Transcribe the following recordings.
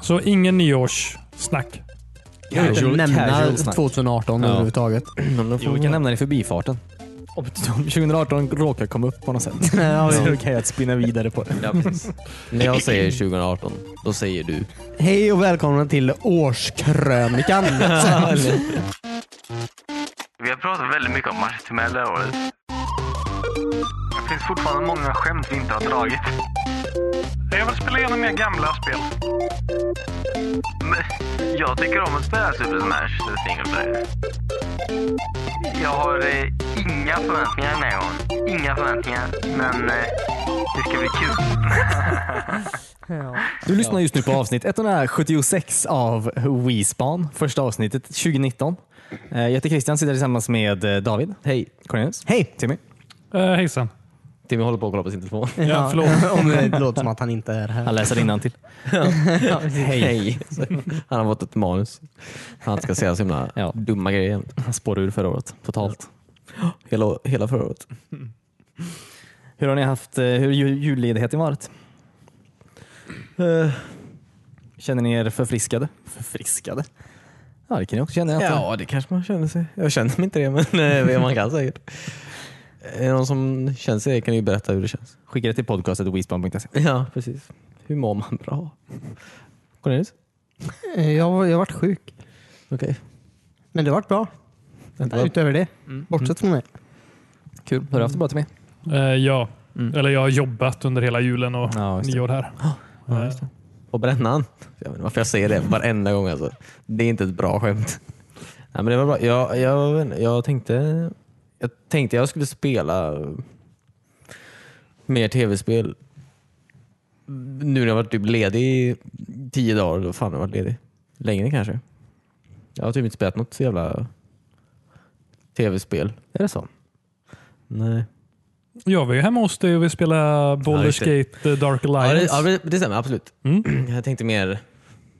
Så ingen nyårssnack. Vi kan Casual- inte nämna casual snack. 2018 Ja. överhuvudtaget. Jo, vi kan nämna det i förbifarten. Om 2018 råkar komma upp på något sätt. Ja, Så vi- kan jag spinna vidare på det. Ja, precis. När jag säger 2018, då säger du. Hej och välkomna till årskrönikan. Vi har pratat väldigt mycket om marshmallow det här året. Det finns fortfarande många skämt vi inte har dragit. Jag vill spela igenom mer gamla spel. Men jag tycker om att spela Super Smash eller Single Player. Jag har eh, inga förväntningar den här gången. Inga förväntningar, men eh, det ska bli kul. Du lyssnar just nu på avsnitt 176 av WeSpan, första avsnittet 2019. Eh, Jag heter Christian, sitter tillsammans med eh, David. Hej. Cornelius. Hej. Timmy. Eh, hejsan. Timmy håller på att kolla på sin telefon. Ja, förlåt. Om det låter som att han inte är här. Han läser innantill. Hej. Han har fått ett manus. Han ska säga så himla Ja. dumma grejer. jämt. Han spårar ur förra året totalt. Hela, hela förra året. Hur har ni haft eh, hur har ju- julledigheten varit? Eh. Känner ni er förfriskade? Förfriskade? Ja, det kan ni också känna. antar jag. Ja, det kanske man känner sig. Jag känner mig inte det, men eh, man kan säkert. Är det någon som känner sig det kan ju berätta hur det känns. Skicka det till podcastet WeSpan.se. Ja, precis. Hur mår man bra? Cornelius? Eh, Jag, har- jag har varit sjuk. Okej. Men det har varit bra. Utöver det. Mm. Bortsett från det. Kul. Har du haft det bra Timmy? Eh, ja. Mm. Eller jag har jobbat under hela julen och Ja, just det. nyår här. Eh, Ja, just det. På brännan. Jag vet inte varför jag säger det varenda gång. Alltså. Det är inte ett bra skämt. Nej, men det var bra. Jag, jag, vet inte. jag tänkte jag tänkte jag skulle spela eh, mer tv-spel. Nu när jag varit typ ledig i tio dagar. Då fan har jag varit ledig. Längre kanske. Jag har typ inte spelat något jävla tv-spel. Är det så? Nej. Jag var ju hemma hos dig och vi spelade Baldur's just det. Gate eh, Dark Ja, det, Alliance. ja, det- det stämmer absolut. Mm. Jag tänkte mer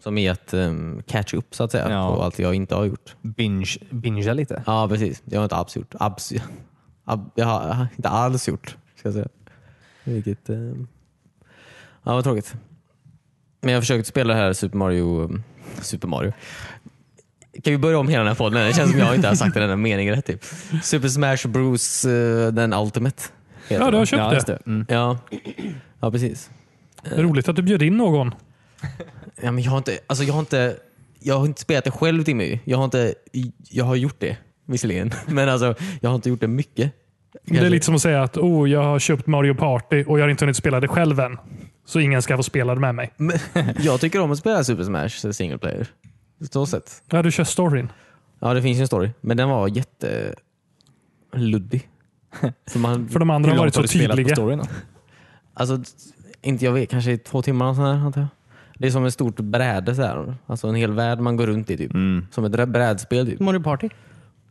som i att um, catch up så att säga Ja. på allt jag inte har gjort. Binge, bingea lite. Ja, precis. Jag har inte alls gjort. Abs, ab, jag har inte alls gjort, ska jag säga. Vilket... Eh, ja, vad tråkigt. Men jag försökte spela det här Super Mario... eh, Super Mario. Kan vi börja om hela den här podden? Det känns som jag inte har sagt den här meningen rätt. Typ. Super Smash Bros. eh, Den Ultimate. heter Ja, du har den. köpt Ja, just det. det. Mm. Ja. ja, precis. Roligt att du bjöd in någon. Ja, men jag, har inte, alltså jag, har inte, jag har inte spelat det själv Timmy. Jag har, inte, jag har gjort det visserligen, men alltså, jag har inte gjort det mycket. Det är Kanske- lite som att säga att oh, jag har köpt Mario Party och jag har inte hunnit spela det själv än. Så ingen ska få spela det med mig. Men, jag tycker om att spela Super Smash så single player. Så sett. Ja, du kör storyn. Ja, det finns ju en story, men den var jätteluddig. För, man, För de andra Hur har långt varit så du spelat på tydliga. storyn då? alltså, inte jag vet, kanske i två timmar eller sådär, antar jag. Det är som ett stort bräde, så här. alltså en hel värld man går runt i. Typ. Mm. Som ett rä- brädspel. Typ. Mario Party.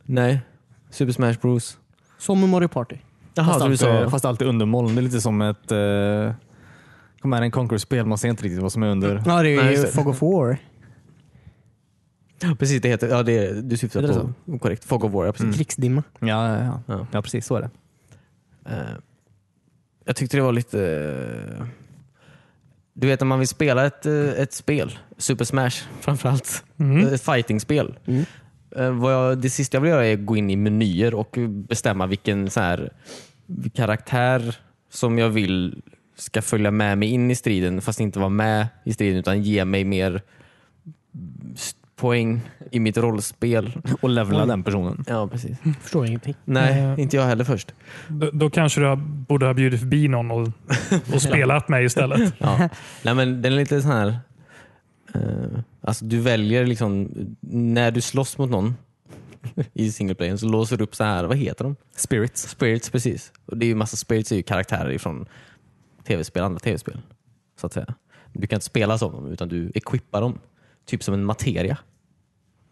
Nej, Super Smash Bros. Som Mario Party. Jaha, så Fast, du alltid, sa... fast alltid under moln. Det är lite som ett... Eh, kom här en Conquer-spel, man ser inte riktigt vad som är under. Ja, det Nej, är just ju det. Fog of War. Ja, Precis, det heter, ja, det, du syftar Heter det på korrekt. Fog of War, ja, precis. Krigsdimma. Ja, ja, ja. Ja. ja. precis så är det. Eh, jag tyckte det var lite... eh, Du vet när man vill spela ett, eh, ett spel, Super Smash framförallt, Mm. ett fightingspel. Eh, vad jag, det sista jag vill göra är gå in i menyer och bestämma vilken så här, karaktär som jag vill ska följa med mig in i striden fast inte vara med i striden utan ge mig mer s- poäng i mitt rollspel. Och levla den personen. Ja, precis. Förstår ingenting. Nej, Eh. inte jag heller först. Då, då kanske du har- borde ha bjudit förbi någon och, och spelat med istället. Ja. Nej, men den är lite sån här... eh, alltså du väljer liksom, när du slåss mot någon i singleplayern så låser du upp så här, vad heter de? Spirits. Spirits, precis. Och det är ju massa spirits är ju karaktärer ifrån tv-spel, andra tv-spel. Så att säga. Du kan inte spela som dem utan du equippar dem. Typ som en materia.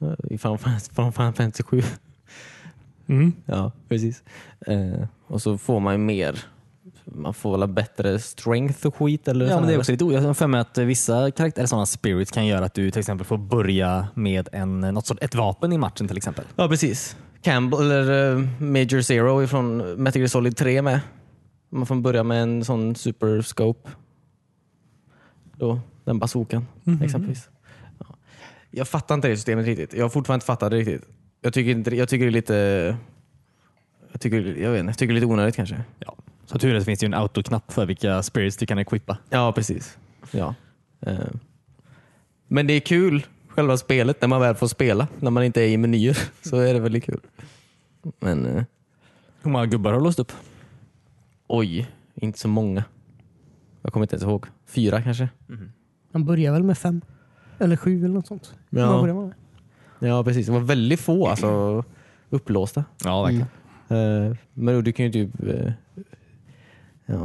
Eh, I Final Fantasy- Final Fantasy 7. Mm. Ja, precis. Eh, och så får man ju mer, man får väl bättre strength och skit eller Ja, sån men det är här- också lite o- Jag har för mig att eh, vissa karaktärer, sådana spirits, kan göra att du till exempel får börja med en, eh, något sort, ett vapen i matchen till exempel. Ja, precis. Campbell, eller eh, Major Zero ifrån Metal Gear Solid 3 med. Man får börja med Mhm. en sån super scope. Då, den bazookan exempelvis. Jag fattar inte det systemet riktigt. Jag har fortfarande inte fattat det riktigt. Jag tycker, inte, jag tycker det är lite... Jag tycker, jag, vet inte, jag tycker det är lite onödigt kanske. Ja. Så tur är det finns det ju en autoknapp för vilka spirits du kan equippa. Ja, precis. Ja. Eh, Men det är kul, själva spelet, när man väl får spela. När man inte är i menyer så är det väldigt kul. Men eh, Hur många gubbar har du låst upp? oj, inte så många. Jag kommer inte ens ihåg. Fyra kanske? De börjar väl med fem? Eller sju eller något sånt. Ja. Vad börjar man med? Ja, precis. Det var väldigt få alltså, upplåsta. Ja, verkligen. Eh, Men du kan ju typ... eh, Ja.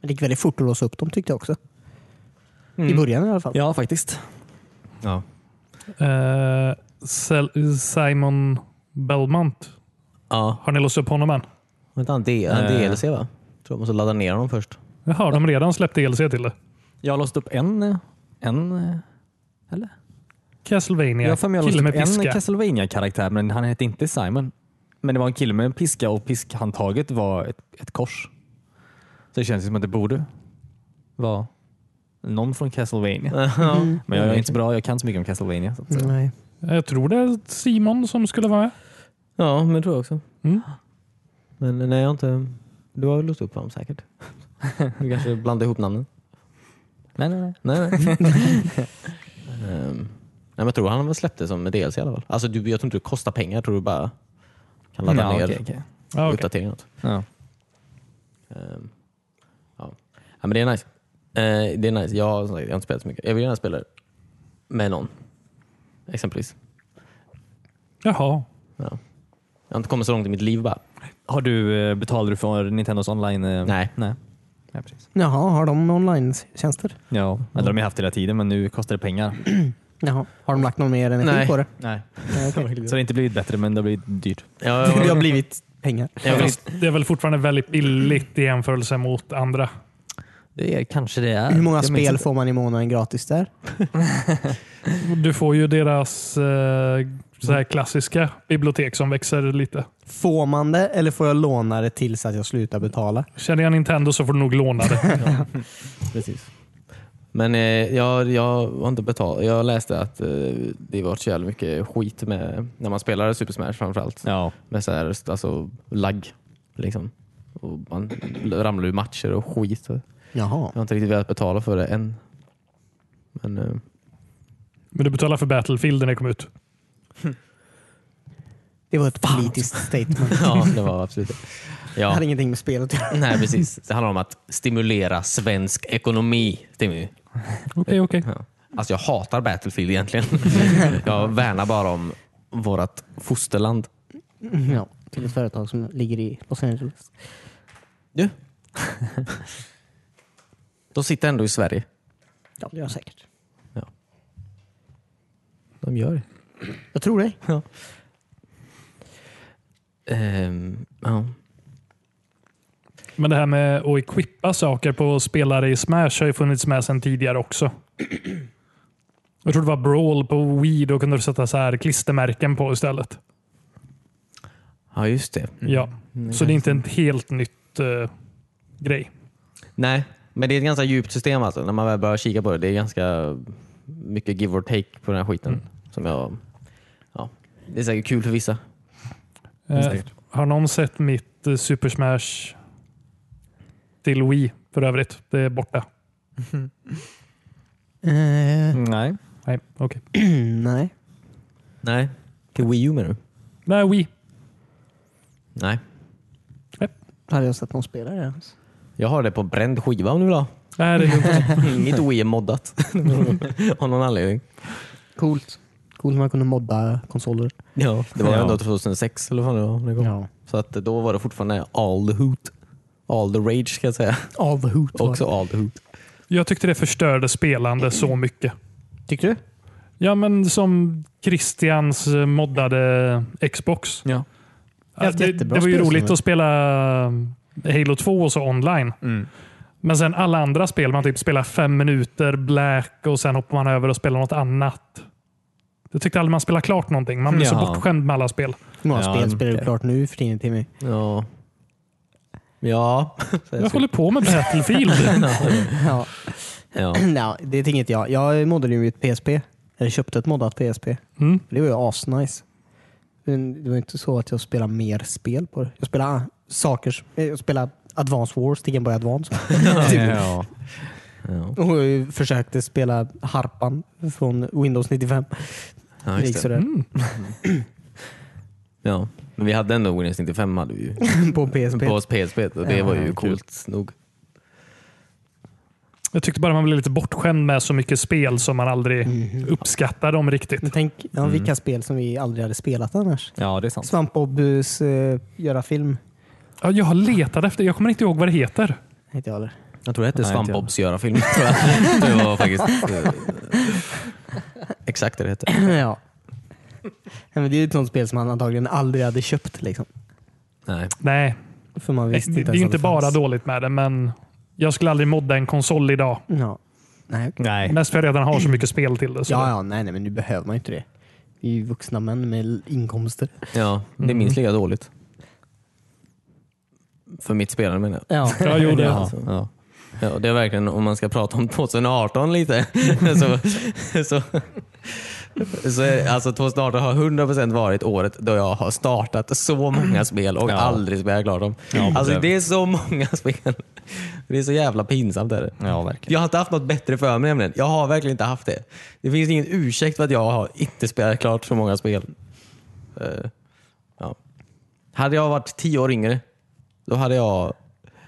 Men det gick väldigt fort att låsa upp dem tyckte jag också. Mm. I början i alla fall. Ja, faktiskt. Ja. Eh, Sel- Simon Belmont. ja. Har ni låst upp honom än? Vänta, han D- han Eh. DLC va? Tror jag måste ladda ner honom först. Jaha, de har redan släppt DLC till det. Jag har låst upp en, eh, en eh, eller? Castlevania. Jag har för mig jag har Kille med låst upp en piska. Castlevania-karaktär, men han hette inte Simon. Men det var en kille med en piska och piskhandtaget var ett, ett kors. Så det känns ju som att det borde vara någon från Castlevania. Men jag är inte så bra, jag kan så mycket om Castlevania. Så att, eh, Nej. Jag tror det är Simon som skulle vara med. Ja, men det tror jag också. Mm. Men nej, jag har inte... Du har väl låst upp honom säkert? Du kanske blandar ihop namnen? nej, nej, nej. Nej, nej. Ehm, nej, men jag tror han väl släppte som DLC i alla fall. Alltså, du, jag tror inte det kostar pengar. Jag tror du bara kan ladda Mm. Ja, ner okej, okej. Ja, okej. uppdateringen. åt. Ja. Ehm, ja. ja, men det är nice. Eh, det är nice. Jag, har, som sagt, jag har inte spelat så mycket. Jag vill gärna spela det med någon. Exempelvis. Jaha. Ja. Jag har inte kommit så långt i mitt liv bara. Har du, eh, betalar du för Nintendos online? eh, Nej. nej. Ja, precis. Jaha, har de online-tjänster? Ja, eller de har ju haft det hela tiden, men nu kostar det pengar. Jaha. Har de lagt någon mer energi Nej. på det? Nej. Nej, okej. Så det har inte blivit bättre, men det har blivit dyrt. Ja, Det jag, har blivit pengar. jag vill, Fast det är väl fortfarande väldigt billigt i jämförelse mot andra. det är, kanske det är. Hur många Jag minns spel inte. får man i månaden gratis där? Du får ju deras eh, så här klassiska bibliotek som växer lite. Får man det eller får jag låna det tills att jag slutar betala? Känner jag Nintendo så får du nog låna det. Precis. Men eh, jag, jag har inte betalt. Jag läste att eh, det var så jävla mycket skit med när man spelar Super Smash framförallt. Ja. Med så här, alltså, lagg. Liksom. Och man ramlar ur matcher och skit. Jag Jaha. har inte riktigt velat betala för det än. Men eh, Men du betalar för Battlefield när det kom ut. Det var ett politiskt statement. ja, det var absolut det. Det Ja. hade ingenting med spelet att göra. Nej, precis. Det handlar om att stimulera svensk ekonomi. Timmy. Okej, okej. Ja. Alltså jag hatar Battlefield egentligen. jag värnar bara om vårt fosterland. Ja, till ett företag som ligger i Los Angeles. Du. De sitter ändå i Sverige. Ja, det gör jag säkert. De gör det. Jag tror det. Ehm, ja. Men det här med att equippa saker på spelare i Smash har ju funnits med sedan tidigare också. Jag tror det var Brawl på Wii. Då kunde du sätta så här klistermärken på istället. ja, just det. Ja. Så det är inte en helt nytt eh, grej. Nej, men det är ett ganska djupt system alltså. När man väl börjar kika på det. Det är ganska mycket give or take på den här skiten. Som jag, ja. Det är säkert kul för vissa. Eh, säkert. har någon sett mitt eh, Super Smash till Wii för övrigt? Det är borta. Eh, Mm, Nej. Nej, okej. nej. Nej. Till Wii U menar du? Nej, Wii. Nej. Hade jag sett någon spelare ens? Jag har det på bränd skiva om du vill ha. Nej, det är lugnt. Mitt Wii är moddat. av någon anledning. Coolt. Coolt när man kunde modda konsoler. Ja, det var Ja. ändå 2006 eller vad fan det var. när det kom. Ja. Så att då var det fortfarande all the hoot. All the rage ska jag säga. All the hoot. var Också all the hoot. Jag tyckte det förstörde spelande så mycket. det. Tyckte du? Ja, men som Christians eh, moddade Xbox. Ja. Ja, Ett det, jättebra det var ju spel som roligt är- att spela eh, Halo 2 och så online. Mm. Men sen alla andra spel, man typ spelar fem minuter black och sen hoppar man över och spelar något annat. Jag tyckte aldrig man spelade klart någonting. Man blir så Jaha. bortskämd med alla spel. Några Ja, spel spelar du okej. klart nu för tiden Timmy. Ja. Ja. Jag håller på med Battlefield. Ja. ja. ja, det är inget jag. Jag moddade ju mitt PSP Jag köpte ett moddat PSP. Mm. Det var ju asnice. Men det var inte så att jag spelade mer spel på det. Jag spelade saker. som- Jag spelade Advance Wars till Game Boy Advance. ja. Ja, Och jag försökte spela harpan från Windows 95. ja, Det gick just det. sådär. Mm. ja. Men vi hade ändå Windows 95 hade vi ju. På PSP. på oss PSP. Och det Ja, var ju kul. coolt nog. Jag tyckte bara man blev lite bortskämd med så mycket spel som man aldrig Mm. uppskattar dem Men riktigt. tänk ja, vilka spel som vi aldrig hade spelat annars. ja, det är sant. Svampbobbs eh, göra film. Ja, jag har letat efter, jag kommer inte ihåg vad det heter. Inte jag heller. Jag tror det hette Nej, inte jag. Svampbobs göra film. tror jag. Det var faktiskt eh, exakt det det hette. ja. Nej, men det är ju ett sånt spel som man antagligen aldrig hade köpt. Liksom. Nej. Nej, För man visste det, inte det är ju ens inte att det bara fanns. dåligt med det, men jag skulle aldrig modda en konsol idag. Ja. Nej, okej. Nej. Mest för jag redan har så mycket spel till det. Så ja, ja, nej, nej, men nu behöver man ju inte det. Vi är ju vuxna män med l- inkomster. Ja, det är minst lika dåligt. För mitt spelande menar jag. Ja, Ja, jo, det- Ja, ja. Ja, det är verkligen, om man ska prata om 2018 lite, så, så, så är, alltså 2018 har 100% varit året då jag har startat så många spel och Ja. aldrig spelat klart dem. Ja, alltså precis. det är så många spel. Det är så jävla pinsamt. Är det. ja, verkligen. Jag har inte haft något bättre för mig nämligen. Jag har verkligen inte haft det. Det finns ingen ursäkt för att jag har inte spelat klart så många spel. Eh, ja. Hade jag varit tio år yngre, då hade jag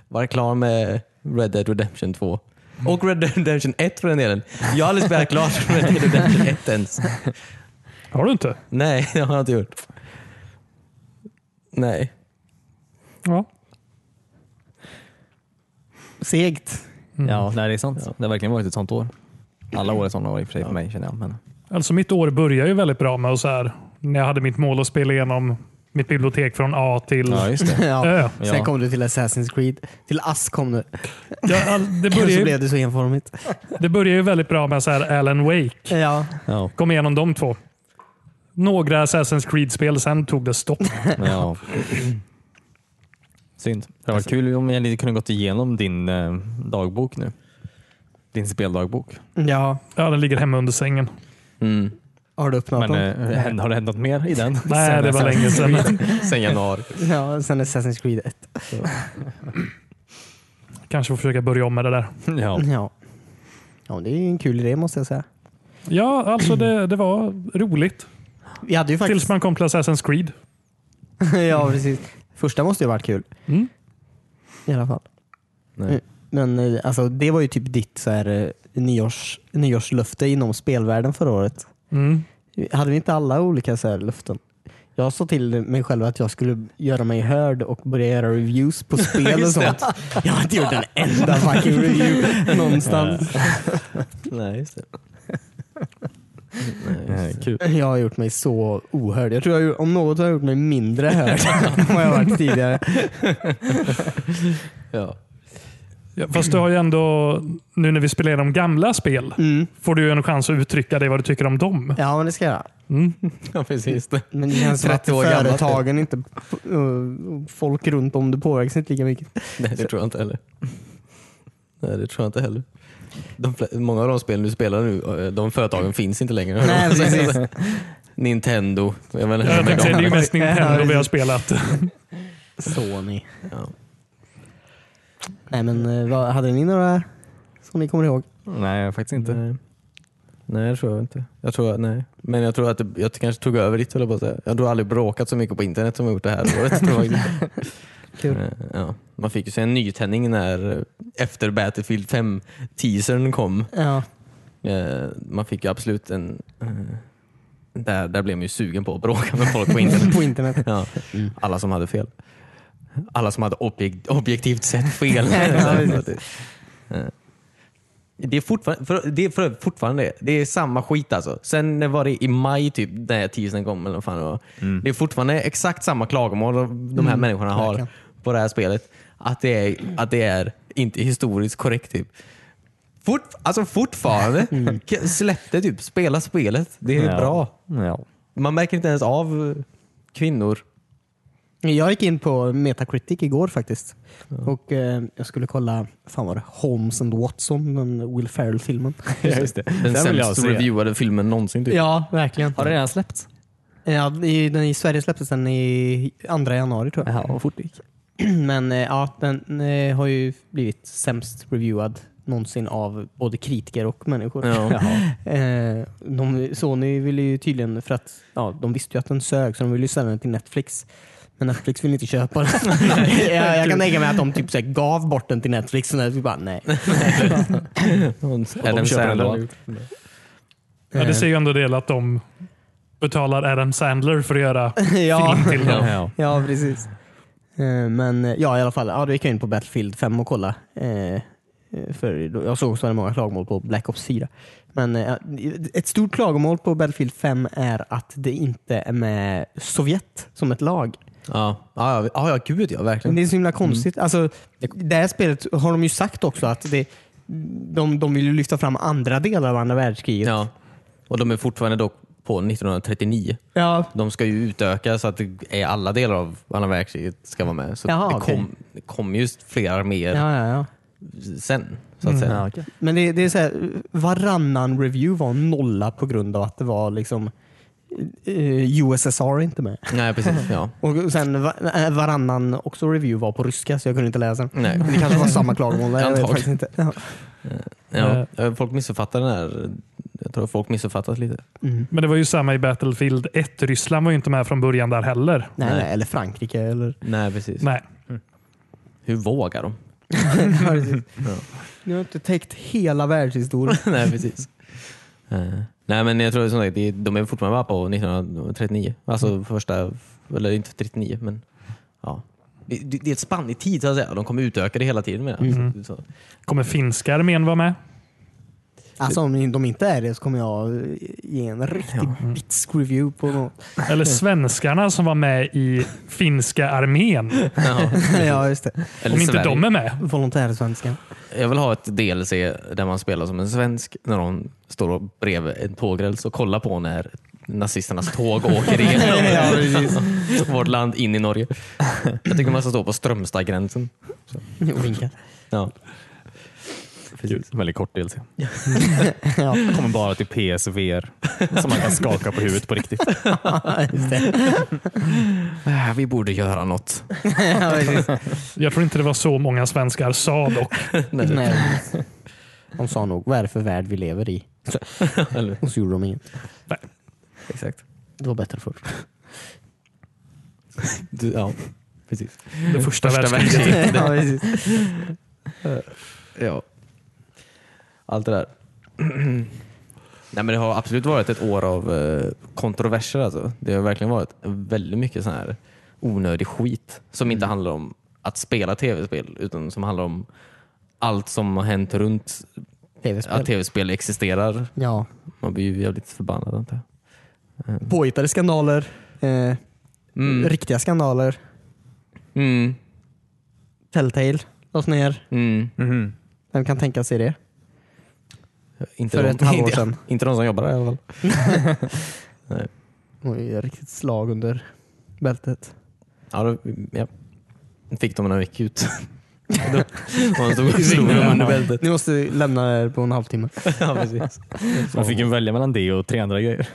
varit klar med Red Dead Redemption 2. Och Red Dead Redemption 1 för den delen. Jag har aldrig spelat klart Red Dead Redemption 1 ens. Har du inte? Nej, det har jag inte gjort. Nej. Ja. segt. Ja, nej, det är sant. Det har verkligen varit ett sånt år. Alla år är sådana år i och för sig för mig känner jag. Men... Alltså mitt år börjar ju väldigt bra med att så här, när jag hade mitt mål att spela igenom mitt bibliotek från A till Ja, just det. Ja. Ö. Sen Ja. kom du till Assassin's Creed. Till Ask kom du. Ja, all, det, börjar Så ju, blev det så enformigt. det börjar ju väldigt bra med så här Alan Wake. Ja. Ja, Kom igenom de två. Några Assassin's Creed-spel, sen tog det stopp. ja. Synd. Det hade Alltså- varit kul om jag hade kunnat gått igenom din eh, dagbok nu. Din speldagbok. ja. Ja, den ligger hemma under sängen. Mm. Har du öppnat Men dem? eh, hänt- har det hänt något mer i den? Nej, det var länge sedan. Sen januari. Ja, sen Assassin's Creed 1. Kanske får försöka börja om med det där. Ja. Ja. ja, det är ju en kul idé måste jag säga. Ja, alltså det, det var roligt. Vi hade ju faktiskt... Tills man kom till Assassin's Creed. ja, precis. Första måste ju ha varit kul. Mm. I alla fall. Nej. Men eh, alltså, det var ju typ ditt så här, eh, nyårs, nyårslöfte inom spelvärlden förra året. Mm. Hade vi inte alla olika så här, löften? Jag sa till mig själv att jag skulle göra mig hörd och börja göra reviews på spel och Just det. sånt. Jag har inte gjort en enda fucking review någonstans. Nej, just det. Nej, Eh, just det. Kul. Jag har gjort mig så ohörd. Jag tror jag, har gjort- om något har jag gjort mig mindre hörd än vad jag varit tidigare. Ja. Ja, fast du har ju ändå, nu när vi spelar de gamla spel, Mm. får du ju en chans att uttrycka dig vad du tycker om dem. Ja, men det ska jag göra. ja, precis. Det. Men det känns som att 30 år gammalt. företagen inte, eh, folk runt om det påverkas inte lika mycket. Nej, det tror jag inte heller. Nej, det tror jag inte heller. De, fle- många av de spelen du spelar nu, eh, de företagen finns inte längre. Nej, precis. Nintendo. Jag menar, Ja, Jag tänkte säga, det är ju mest Nintendo vi har spelat. Sony. Ja. Nej men eh, vad, hade ni några som ni kommer ihåg? Nej, faktiskt inte. Nej. nej, det tror jag inte. Jag tror, nej. Men jag tror att det, jag kanske tog över ditt, höll jag på att säga. Jag tror aldrig bråkat så mycket på internet som jag gjort det här året. tror jag. Kul. Eh, Ja. Man fick ju sig en nytändning när eh, efter Battlefield 5-teasern kom. Ja. Eh, man fick ju absolut en... Eh, där, där blev man ju sugen på att bråka med folk på internet. På internet. Ja. Mm. Alla som hade fel. Alla som hade objek objektivt sett fel. Ja, Eh. det är fortfarande, för, det är för, fortfarande det. Det är samma skit alltså. Sen när var det i maj typ, när tisen kom eller vad fan det var. Mm. Det är fortfarande exakt samma klagomål de här människorna har verkligen. på det här spelet. Att det är, att det är inte historiskt korrekt typ. Fort, alltså fortfarande. Mm. K- Släpp det typ. Spela spelet. Det är ja. bra. Ja. Man märker inte ens av eh, kvinnor Jag gick in på Metacritic igår faktiskt. Och eh, Jag skulle kolla, fan var det Holmes and Watson, den Will Ferrell-filmen. Ja, just det. Den Den vill jag sämst se. reviewade filmen någonsin. Typ. ja, verkligen. Har den redan släppts? Ja, i, den, I Sverige släpptes den i 2 januari tror jag. Jaha, vad fort det gick. Men eh, ja, den eh, har ju blivit sämst reviewad någonsin av både kritiker och människor. Ja. Jaha. Eh, de, Sony ville ju tydligen, för att ja, de visste ju att den sög, så de ville ju sälja den till Netflix. Men Netflix ville inte köpa den. jag, jag kan tänka mig att de typ så här gav bort den till Netflix och Netflix bara nej. Adam köper den Sandler. då. Ja, det säger ju ändå del att de betalar Adam Sandler för att göra ja, film till dem. Ja, ja. ja, precis. Eh, men eh, ja, i alla fall. Ja, då gick jag in på Battlefield 5 och kollade. Eh, eh, för då- jag såg också att det var många klagomål på Black Ops 4. Men eh, ett stort klagomål på Battlefield 5 är att det inte är med Sovjet som ett lag. Ja. Ja, ja, ja, ja, gud ja. Men Verkligen. det är så himla konstigt. Alltså, det här spelet har de ju sagt också att det, de, de vill ju lyfta fram andra delar av andra världskriget. Ja. Och de är fortfarande dock på 1939. Ja, De ska ju utöka så att det är alla delar av andra världskriget ska vara med. Så Jaha, det okej. kom, det kom just fler arméer ja, ja, ja. sen. Så att säga. Ja, okej. Men det, det är så här, varannan review var nolla på grund av att det var liksom eh, USSR inte med. Nej, precis. Ja. Och sen va- eh, varannan också review var på ryska så jag kunde inte läsa den. Nej. Det kanske var samma klagomål. Jag vet Antagligen. faktiskt inte. Ja. Ja. Eh, Folk missuppfattar den här. Jag tror folk missuppfattat lite. Mm. Men det var ju samma i Battlefield 1. Ryssland var ju inte med från början där heller. Nej, Nej. nej, eller Frankrike. Eller... Nej, precis. Nej. Hur vågar de? Nu har jag inte täckt hela världshistorien. Nej, precis. Eh, Nej, men jag tror som sagt, det- de är fortfarande bara på 1939. Alltså första, eller inte 39, men ja. Det, det det är ett spann i tid så att säga. De kommer utöka det hela tiden med det. Mm. Så, Kommer finska armén vara med? Alltså om de inte är det så kommer jag eh, ge en riktig Mm. bitsk review på något. Eller svenskarna som var med i finska armén? ja. ja, just det. Eller Om inte Sverige. de är med? Volontärsvenskan. Jag vill ha ett DLC där man spelar som en svensk när de står och bredvid en tågräls och kollar på när nazisternas tåg åker Ja, igenom vårt land in i Norge. Jag tycker man ska stå på Strömstadgränsen. Och vinka. Ja. Kul. Väldigt kort DLC. ja, Kommer bara till PSVR som man kan skaka på huvudet på riktigt. just det. Äh, Vi borde göra något. Ja, precis. Jag tror inte det var så många svenskar sa dock. Nej. De sa nog, vad är det för värld vi lever i? Eller, Och så gjorde de inget. exakt. Det var bättre förr. Du, ja, precis. Det första, Första världskriget. ja, precis. Ja. Allt det där. Nej, men det har absolut varit ett år av eh, kontroverser. Alltså. Det har verkligen varit väldigt mycket sån här onödig skit som inte handlar om att spela tv-spel utan som handlar om allt som har hänt runt Tv-spel. att tv-spel existerar. Ja. Man blir ju jävligt förbannad antar jag. Påhittade skandaler. Eh, Mm. Riktiga skandaler. Mm. Telltale lades ner. Mm. Mhm. Vem kan tänka sig det? Inte För de- ett halvår inte- sedan. Inte de som jobbar där i alla fall. Oj, riktigt slag under bältet. Ja, då, ja. Fick de när de gick ut. Då- och Han stod och slog dem under bältet. Ni måste lämna er på en halvtimme. Ja, precis. Man fick ju välja mellan det och 300 grejer.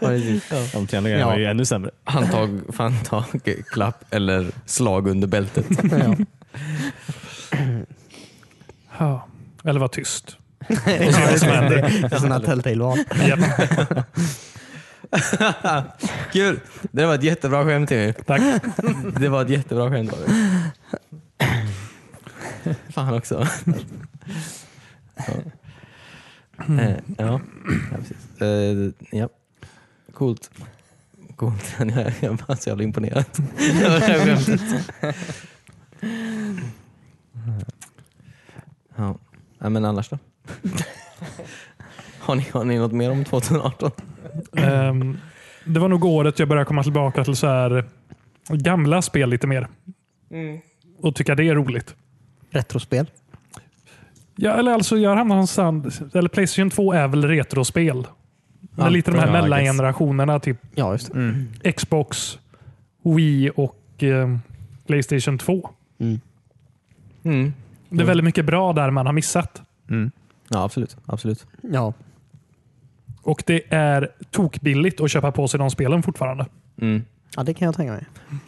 De 300 grejerna Ja. var ju ännu sämre. Handtag, fantag, klapp eller slag under bältet. Ja. Ja. Eller var tyst. Och se vad som händer. Det är sådana Telltale-val. Japp, Kul! Det var ett jättebra skämt Timmy. tack. Det var ett jättebra skämt av dig. Fan också. Ja. Eh, Ja, ja precis. Eh, Ja. Coolt. Coolt. Jag är bara så jävla imponerad. Det var det här skämtet. Ja. ja, men annars då? Har ni, har ni något mer om 2018? Ehm, det var nog året jag började komma tillbaka till så här gamla spel lite mer. Och tycka det är roligt. Retrospel. Ja, eller alltså, jag hamnar någonstans... Eller Playstation 2 är väl retrospel? Men Ja, lite de här ja, I guess. Mm. mellangenerationerna. Typ Ja, just det. Xbox, Wii och och eh, Playstation 2. Mm. Det är väldigt mycket bra där man har missat. Ja, absolut. absolut. Ja. Och det är tokbilligt att köpa på sig de spelen fortfarande. Mm. ja, det kan jag tänka mig.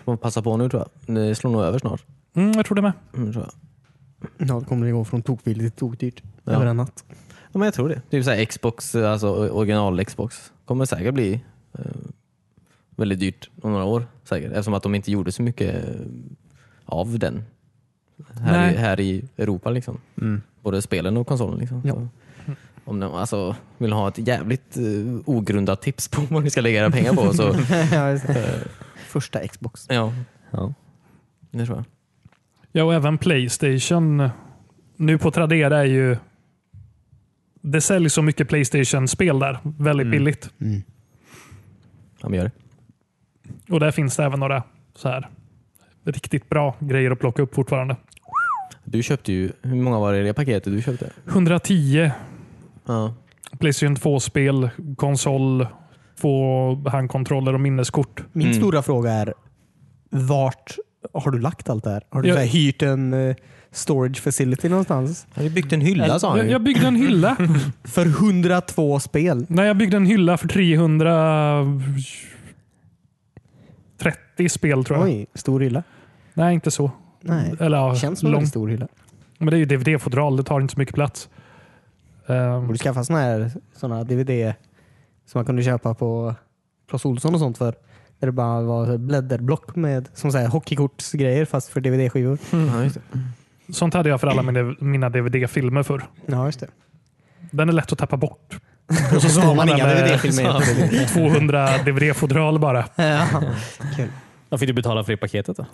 Får man passa på nu tror jag. Det slår nog över snart. Mm, jag tror det med. Mm, tror jag. Ja, det kommer det gå från tokbilligt till tokdyrt Ja. över en natt. Ja, men jag tror det. Typ så här Xbox, alltså original Xbox, kommer säkert bli eh, väldigt dyrt om några år. Säkert. Eftersom att de inte gjorde så mycket eh, av den här, Nej. Mm. i, här i Europa. Liksom. Både spelen och konsolen. Liksom. Ja. Så, om ni alltså, vill ha ett jävligt eh, ogrundat tips på vad ni ska lägga era pengar på så Ja, just det. Första Xbox. ja. Det tror jag. Ja, och även Playstation. Nu på Tradera är ju... Det säljs så mycket Playstation-spel där. Väldigt Mm. billigt. Ja, men gör det. Och där finns det även några så här riktigt bra grejer att plocka upp fortfarande. Du köpte ju, hur många var det i det paketet du köpte? 110 Ja. Playstation 2-spel, konsol, två handkontroller och minneskort. Min Mm. stora fråga är, vart har du lagt allt det här? Har du Jag- så här, hyrt en eh, storage facility någonstans? Har du byggt en hylla sa han Jag, ju. jag byggde en hylla. För 102 spel? Nej, jag byggde en hylla för 330 spel tror jag. Oj, stor hylla. Nej, inte så. Nej. Eller ja, Känns som en väldigt långt. stor hylla. Men det är ju DVD-fodral. Det tar inte så mycket plats. Ehm, Borde skaffa såna här såna DVD som man kunde köpa på Clas Ohlson och sånt för. Där det bara var blädderblock med som så här, hockeykortsgrejer fast för DVD-skivor. Ja, just det. sånt hade jag för alla mina, mina DVD-filmer för. Ja, just det. Den är lätt att tappa bort. Och så har man står inga man där med- DVD-filmer. 200 DVD-fodral bara. Ja. Kul. Vad fick du betala för det paketet då?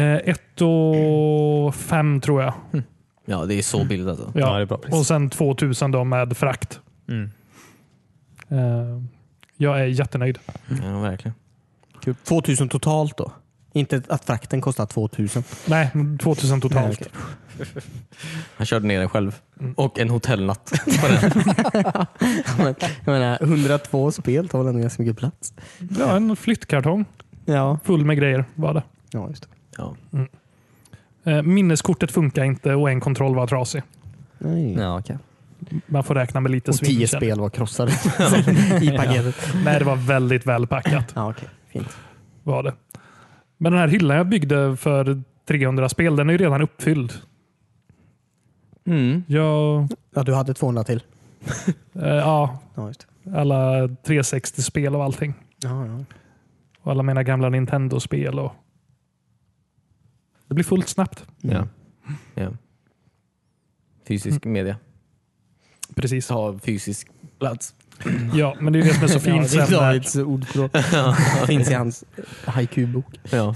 Eh, ett och fem tror jag. ja, det är så billigt alltså. Ja. det är bra pris. Och sen 2000 då med frakt. Mm. Eh, jag är jättenöjd. Ja, verkligen. Kul. 2000 Typ totalt då? Inte att frakten kostar 2000. Nej, 2000 totalt. Nej, okej. Han körde ner den själv. Och en hotellnatt. Men, jag menar, 102 spel tar väl ändå ganska mycket plats? Ja, en flyttkartong Ja, full med grejer var det. ja just det. Ja. Eh, minneskortet funkar inte och en kontroll var trasig. Nej. Ja, okay. Man får räkna med lite Och 10 svinn. spel var krossade i paketet. Nej, det var väldigt välpackat. Ja, okej. Fint. Var det. Men den här hyllan jag byggde för 300 spel, den är ju redan uppfylld. Mm. Jag, Ja, du hade 200 till. eh, ja, Ja, just det. alla 360-spel och allting. Ja, ja. Och alla mina gamla Nintendo-spel. Och... Det blir fullt snabbt. Ja. ja. Fysisk media. Precis. Ta fysisk plats. Ja, men det är ju det som är så fint. ja, sen det när, är Davids ordspråk. Finns i hans haiku-bok. Ja.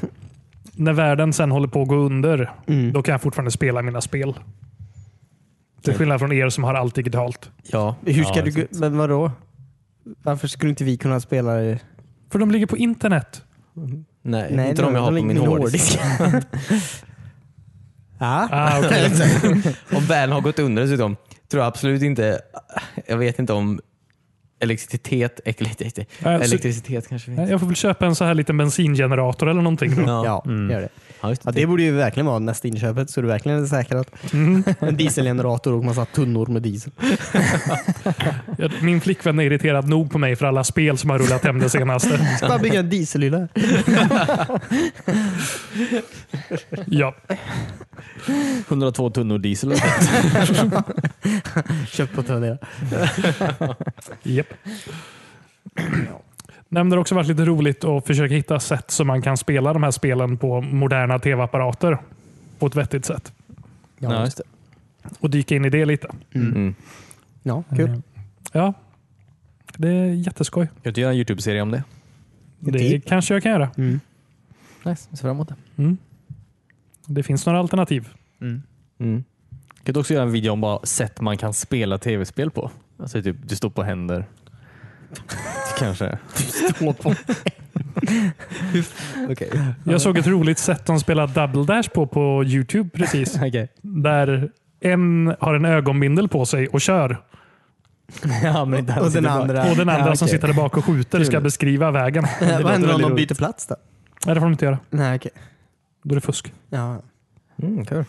när världen sen håller på att gå under, Mm. då kan jag fortfarande spela mina spel. Till skillnad från er som har allt digitalt. ja. Hur ska Ja, du... det är gå- Men vadå? Varför skulle inte vi kunna spela det? För de ligger på internet. Nej, Nej, inte de jag har på ligger min hårddisk. ja. Ah, okej. Om världen har gått under dessutom, tror jag absolut inte... Jag vet inte om elektricitet... Elektricitet, Äh, så- elektricitet kanske Nej, finns. Jag får väl köpa en så här liten bensingenerator eller någonting. Då. Ja. Ja, gör det. Ja, just Ja, det. det borde ju verkligen vara nästa inköpet så du verkligen är säker att Mm. en dieselgenerator och massa tunnor med diesel. Jag- Min flickvän är irriterad nog på mig för alla spel som har rullat hem det senaste. Ska bara bygga en dieselhylla. här. Ja. 102 tunnor diesel. Köpt på Tradera. Japp. Nej, men Det har också varit lite roligt att försöka hitta sätt som man kan spela de här spelen på moderna tv-apparater på ett vettigt sätt. Ja, just det. Och dyka in i det lite. Mm. Ja, kul. Ja, det är jätteskoj. Kan du göra en Youtube-serie om det? Det, Det- kanske jag kan göra. Nice, jag ser fram emot det. Det finns några alternativ. Mm. Kan du också göra en video om bara sätt man kan spela tv-spel på? Alltså typ, du står på händer. Kanske. Stå på. Okej. Jag såg ett roligt sätt de spelar Double Dash på på Youtube precis. Okay. Där en har en ögonbindel på sig och kör. ja, men där Och sitter den bara- andra. Och den andra Ja, som okej. sitter där bak och skjuter ska beskriva vägen. Vad händer om väldigt de roligt. byter plats då? Nej, det får de inte göra. Nej, okej. Då är det fusk. Ja. Mm, kul.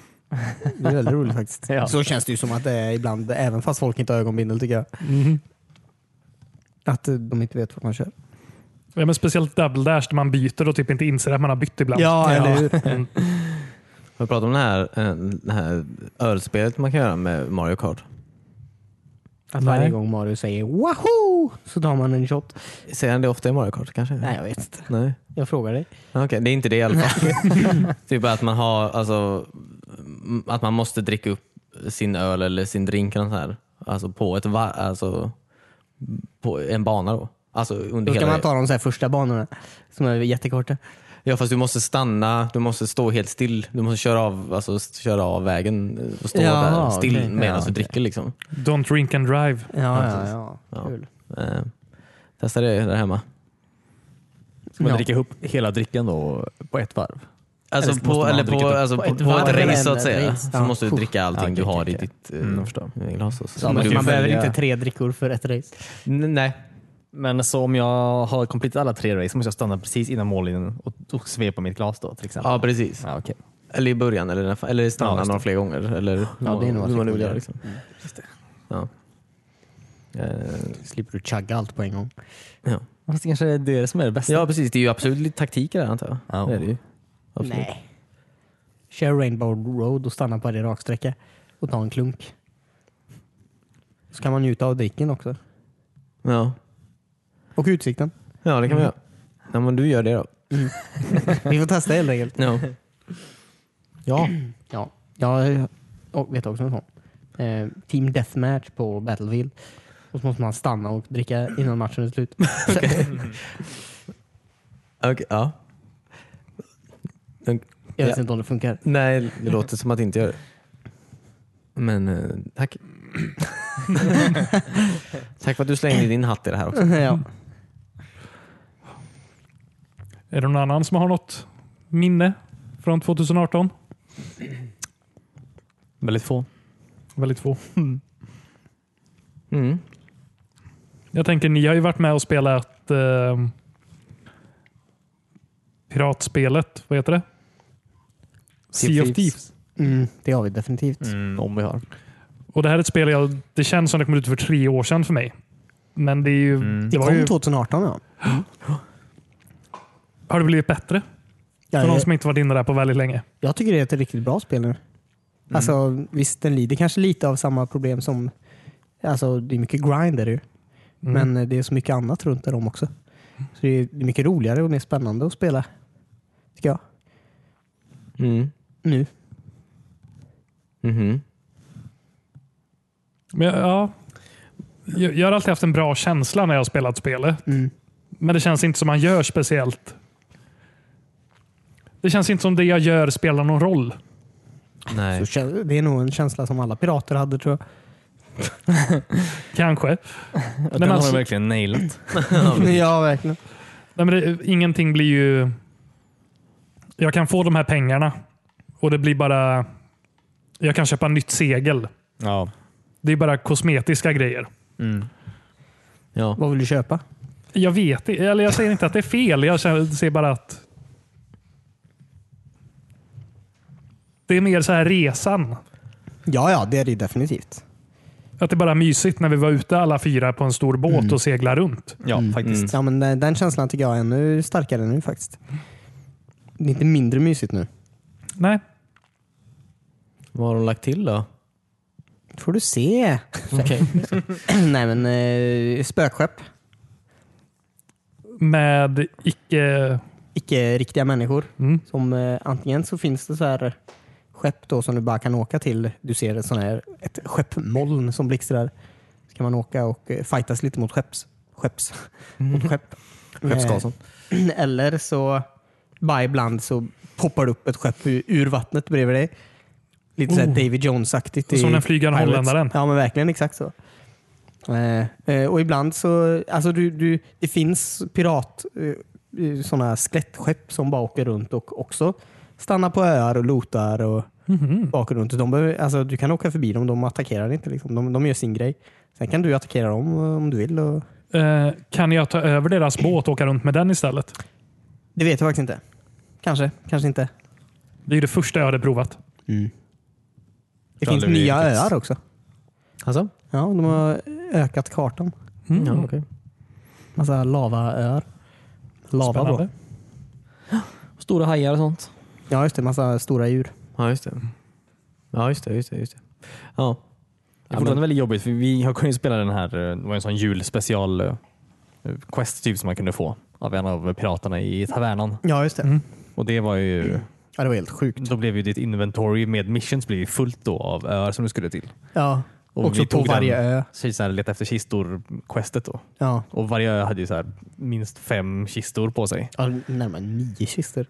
Det är väldigt roligt faktiskt. Ja. Så känns det ju som att det är ibland, även fast folk inte har ögonbindel tycker jag. Mhm. Att eh, de inte vet vad man kör. Ja, men speciellt double dash där man byter och typ inte inser att man har bytt ibland. Ja, eller hur? Mm. Har du pratat om det här, eh, det här ölspelet man kan göra med Mario Kart? Att varje Nej. gång Mario säger wahoo så tar man en shot. Säger han det ofta i Mario Kart kanske? Nej, jag vet inte. Nej. Jag frågar dig. Okej, det är inte det i alla fall. typ att man har, alltså, m- att man måste dricka upp sin öl eller sin drink eller något sånt här. Alltså på ett var, alltså på en bana då. Alltså under Då ska hela... man ta de så här första banorna som är jättekorta. Ja fast du måste stanna, du måste stå helt still. Du måste köra av, alltså, s- köra av vägen och stå Jaha, där still okej. medan Ja, du okej. dricker liksom. Don't drink and drive. Ja, ja, precis. Alltså, ja. Ja. Kul. Eh, testa det där hemma. Ska man Ja. dricka ihop hela drickan då på ett varv? Alltså Eller så på, måste man eller på, dricka upp- alltså, på på, ett på ett varv. race så att säga. Race. Så Ja. måste du dricka allting okej, du har okej, i okej. ditt eh, Mm, jag förstår. glas. och så- Så man, kan ju man behöver välja- inte tre drickor för ett race. N- Nej. Men så om jag har kompletat alla tre race så måste jag stanna precis innan mållinjen och, och svepa mitt glas då till exempel? Ja precis. Ja, okej. Eller i början eller, när- eller Ja, stanna just det. några fler gånger. Eller Ja, det är nog hur man nu att vill det göra. går. Liksom. Ja. Eh, slipper du chugga allt på en gång. Fast det kanske är det som är det bästa? ja precis, det är ju absolut lite taktik där antar jag. Ja. Det är det ju. Absolut. Nej. Kör Rainbow Road och stanna på varje raksträcka och ta en klunk. Så kan man njuta av dricken också. Ja. Och utsikten. ja, det kan man göra. Ja, men du gör det då. Vi får testa helt enkelt. Ja. ja. Ja, jag och vet också en sån. Eh, team Deathmatch på Battlefield. Och så måste man stanna och dricka innan matchen är slut. Okej, ja. Jag vet Ja. inte om det funkar. Nej, det låter som att det inte gör det. Men eh, tack. tack för att du slängde din hatt i det här också. ja. Är det någon annan som har något minne från 2018? Väldigt få. Väldigt få. Mm. Jag tänker, ni har ju varit med och spelat eh, piratspelet. Vad heter det? Sea of Thieves. Mm, det har vi definitivt. om vi har. Och Det här är ett spel jag, det känns som det kom ut för tre år sedan för mig. Men det, är ju, Det det var kom ju, 2018 ja. har det blivit bättre? För någon jag, som inte varit inne där på väldigt länge. jag tycker det är ett riktigt bra spel nu. Alltså visst, den lider kanske lite av samma problem som... Alltså det är mycket grind är det ju. Mm. Men eh, det är så mycket annat runt om också. Så det är det är mycket roligare och mer spännande att spela. Tycker jag. Mm. Nu. Mhm. Men jag, ja, jag, jag har alltid haft en bra känsla när jag har spelat spelet. Mm. Men det känns inte som man gör speciellt. Det känns inte som det jag gör spelar någon roll. Nej. Så kä- det är nog en känsla som alla pirater hade tror jag. Kanske. Den men har alltså- de verkligen nailat. ja, verkligen. Nej, men det, ingenting blir ju... Jag kan få de här pengarna och det blir bara... Jag kan köpa nytt segel. Ja. Det är bara kosmetiska grejer. Ja. Vad vill du köpa? Jag vet i- eller jag säger inte att det är fel. Jag känner- ser bara att... Det är mer så här resan. Ja, ja, det är det ju definitivt. Att det bara är mysigt när vi var ute alla fyra på en stor båt Mm. och seglar runt. Ja, Mm. faktiskt. Ja, men den, den känslan tycker jag är ännu starkare nu faktiskt. Det är inte mindre mysigt nu. Nej, Vad har de lagt till då? får du se. Nej, men eh, spökskepp. med icke... Icke riktiga människor. Mm. Som, eh, antingen så finns det så här eh, skepp då som du bara kan åka till. Du ser ett, sån här, ett skeppmoln som blixtrar. Så kan man åka och eh, fightas lite mot skepps. Skepps. Mot skepp. Skeppsgasen. Mm. Eh, Eller så bara ibland så poppar det upp ett skepp ur, ur vattnet bredvid dig. Lite såhär Oh. David Jones-aktigt. i Som den flygande Pirates. holländaren. Ja men verkligen exakt så. Eh, eh, och ibland så, alltså du, du, det finns pirat eh, eh, sådana skelettskepp som bara åker runt och också stannar på öar och lotar och Mhm. åker runt. De behöver, alltså, du kan åka förbi dem, de attackerar inte. Liksom. De, de gör sin grej. Sen kan du attackera dem eh, om du vill. Och... Eh, kan jag ta över deras båt och åka runt med den istället? Det vet jag faktiskt inte. Kanske, kanske inte. Det är ju det första jag hade provat. Det Ja, finns det blir nya riktigt- öar också. Alltså? Ja, de har ökat kartan. Mm. Ja, okej. Massa lavaöar. Lava då. Spännande. Mm. Stora hajar och sånt. Ja, just det. Massa stora djur. Ja, just det. Ja, just det. Just det, just det. Ja. Det är fortfarande väldigt jobbigt för vi har kunnat spela den här, eh, det var en sån julspecial eh, quest typ som man kunde få av en av piraterna i tavernan. Ja, just det. Och det var ju, Ja, det var helt sjukt. då blev ju ditt inventory med missions blev ju fullt då av öar som du skulle till. Ja. Och också vi på tog den. varje ö. Så så här, leta efter kistor-questet då. Ja. Och varje ö hade ju så här, minst fem kistor på sig. ja, närmare nio kistor.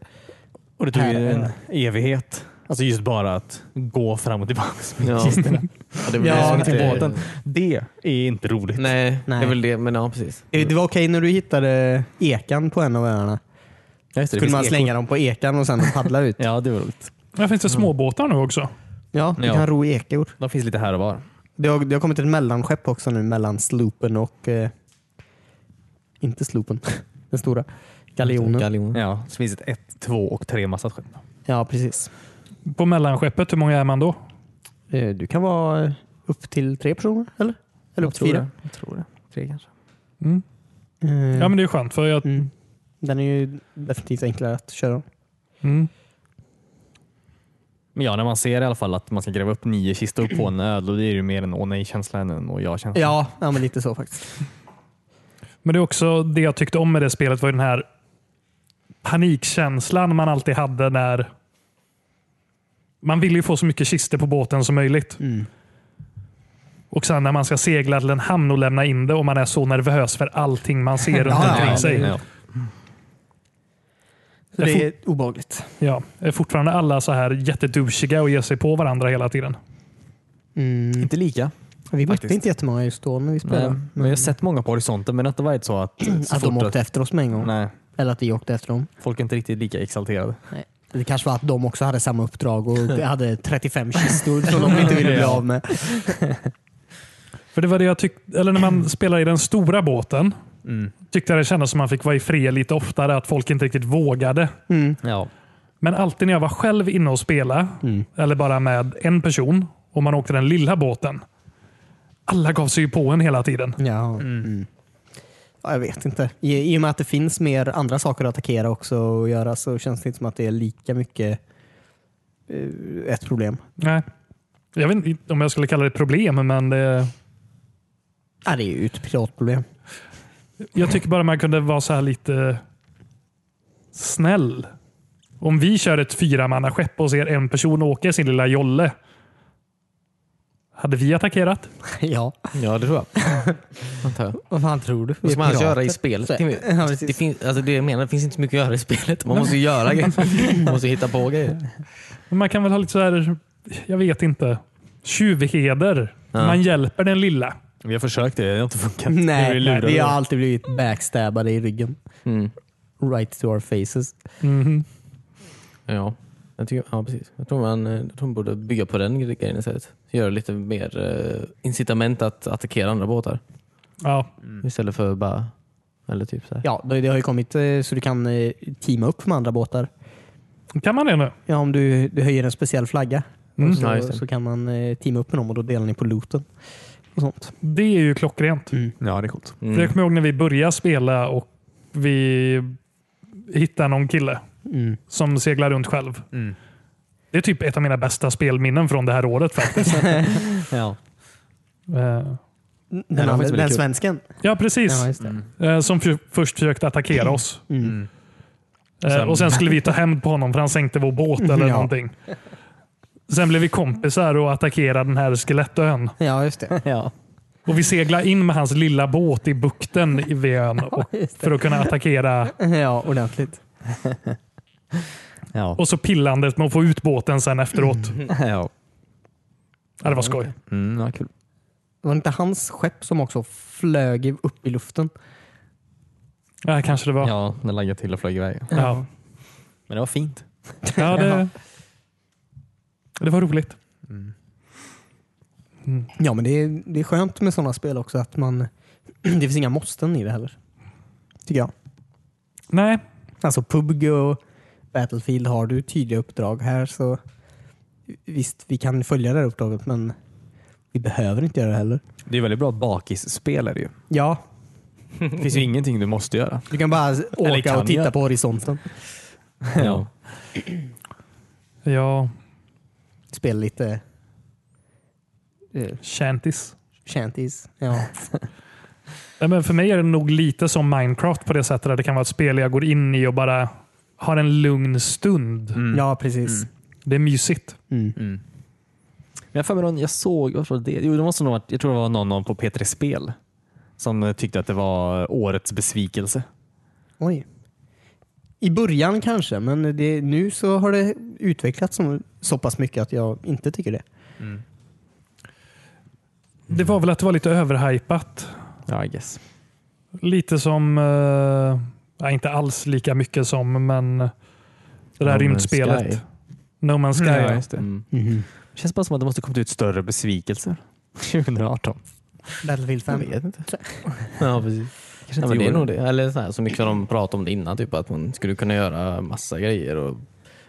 Och det tog Per ju en ö. evighet. Alltså just bara att gå fram och tillbaka med Ja. kistorna. Ja, det är väl Ja, det som till inte- båten. Det är inte roligt. Nej, Nej. det är väl det. Men ja, precis. Eh, Det det var okej när du hittade ekan på en av öarna. Ja, just det, det kunde finns man ekor. slänga dem på ekan och sen paddla ut. Ja, det var roligt. Här finns det Mm. småbåtar nu också. Ja, du Ja. kan ro ekor. De finns lite här och var. Det har, det har kommit ett mellanskepp också nu mellan sloopen och... Eh, inte sloopen. Den stora. Galjonen. Galjonen. Ja, så finns det ett, två och tre massat skepp. Ja, precis. På mellanskeppet, hur många är man då? Eh, Du kan vara eh, upp till tre personer, eller? Eller upp till fyra. Jag tror det. Tre kanske. Mm. Eh, Ja, men det är skönt. För jag, mm. Den är ju definitivt enklare att köra. mm. Men ja, när man ser i alla fall att man ska gräva upp nio kistor på en öl, då är det ju mer en åh nej-känsla än en åh ja-känsla. Ja, ja men lite så faktiskt. Men det är också det jag tyckte om med det spelet var ju den här panikkänslan man alltid hade när man vill ju få så mycket kister på båten som möjligt. Mm. Och sen när man ska segla till en hamn och lämna in det och man är så nervös för allting man ser runt Ja, ja, omkring ja. sig. Ja. Så det är obehagligt. Ja, är fortfarande alla så här jätteduschiga och ger sig på varandra hela tiden? Mm. Inte lika. Vi mötte Faktiskt. inte jättemånga just då när vi Nej, spelade. men jag har sett många på horisonten, men det har inte varit så att... Så att de fort åkte efter oss med en gång. Nej, Eller att vi åkte efter dem. folk är inte riktigt lika exalterade. Det kanske var att de också hade samma uppdrag och hade 35 kistor som de inte ville bli av med. För det var det jag tyckte, eller när man spelar i den stora båten Mm. tyckte jag det kändes som man fick vara i fred lite oftare, att folk inte riktigt vågade. Ja. Men alltid när jag var själv inne och spela eller bara med en person och man åkte den lilla båten. Alla gav sig ju på en hela tiden. Ja. Mm. ja, jag vet inte. I, I och med att det finns mer andra saker att attackera också och göra så känns det inte som att det är lika mycket eh, ett problem. Nej. Jag vet inte om jag skulle kalla det problem, men det, Ja, det är ju ett piratproblem. jag tycker bara man kunde vara så här lite snäll. Om vi kör ett fyramannaskepp och ser en person åka i sin lilla jolle. Hade vi attackerat? ja. Ja, det tror jag. Antar jag. Vad fan tror du? Vi Vad är ska man annars pirater. göra i spelet? Så- Ja, Det, precis. det, finns, alltså det jag menar, det finns inte så mycket att göra i spelet. Man måste ju göra grejer. Man måste ju hitta på grejer. Men man kan väl ha lite så här, jag vet inte, tjuvheder. Man hjälper den lilla. Vi har försökt det, det har inte funkat. Nej, Vi nej, vi har har... alltid blivit backstabbade i ryggen. Mm. Right to our faces. Mhm. Ja. Jag, tycker, ja, precis. jag tror man, eh, jag tror man borde bygga på den gre- grejen istället. Göra lite mer eh, incitament att attackera andra båtar. Ja, Istället för bara... Eller typ så här. Ja, det det har ju kommit eh, så du kan eh, teama upp med andra båtar. kan man det nu? Ja, om du, du höjer en speciell flagga Mm. och så, Ja, just det. så kan man eh, teama upp med dem och då delar ni på looten. Och sånt. Det är ju klockrent. Ja, det är coolt. Mm. För jag kommer ihåg när vi började spela och vi hittade någon kille Mm. som seglar runt själv. Mm. Det är typ ett av mina bästa spelminnen från det här året faktiskt. Ja. Eh, Den, var andra, faktiskt väldigt den kul. svensken. ja, precis. Ja, just det. Eh, Som för, först försökte attackera oss. Mm. Eh, Sen- Och sen skulle vi ta hämnd på honom för han sänkte vår båt eller Ja. någonting. Sen blev vi kompisar och attackerade den här skelettön. Ja, just det. ja. Och vi seglade in med hans lilla båt i bukten i vid ön och- just för att kunna attackera. Ja, ordentligt. Ja. Och så pillandet med att få ut båten sen Mm. efteråt. ja. Ja, det var skoj. Mm, ja, kul. Var det inte hans skepp som också flög i- upp i luften? Ja, kanske det var. Ja, Ja, den laggade till och flög iväg. ja. Men det var fint. det, det var roligt. Ja, men det är, det är skönt med sådana spel också att man... det finns inga måsten i det heller. Tycker jag. Nej, Alltså PubG och Battlefield har du tydliga uppdrag här så visst, vi kan följa det här uppdraget men vi behöver inte göra det heller. Det är väldigt bra bakisspel är det ju. Ja, Det finns ju ingenting du måste göra. du kan bara åka kan och titta jag? på horisonten. Ja. Ja, Spela lite eh, shanties. shanties. Ja. Nej, men för mig är det nog lite som Minecraft på det sättet. Att det kan vara ett spel jag går in i och bara har en lugn stund. ja, precis. Det är mysigt. Mm. Men jag har för mig någon, jag såg, vad var det? Jo, det måste nog ha varit, jag tror det var någon någon på P3 Spel som eh, tyckte att det var årets besvikelse. Oj. I början kanske, men det, nu så har det utvecklats som, så pass mycket att jag inte tycker det. Det var väl att det var lite överhypat. Ja, I guess. Lite som, eh, ja, inte alls lika mycket som, men det där No Man's rymdspelet. Sky. No Man's Sky. ja. just det. mm Det känns bara som att det måste kommit ut större besvikelser 2018. Battlefield 5. inte. ja, precis. Kanske Ja, inte men det är gjorde nog det. Eller så, här, så mycket som de pratade om det innan, typ, att man skulle kunna göra massa grejer. Och,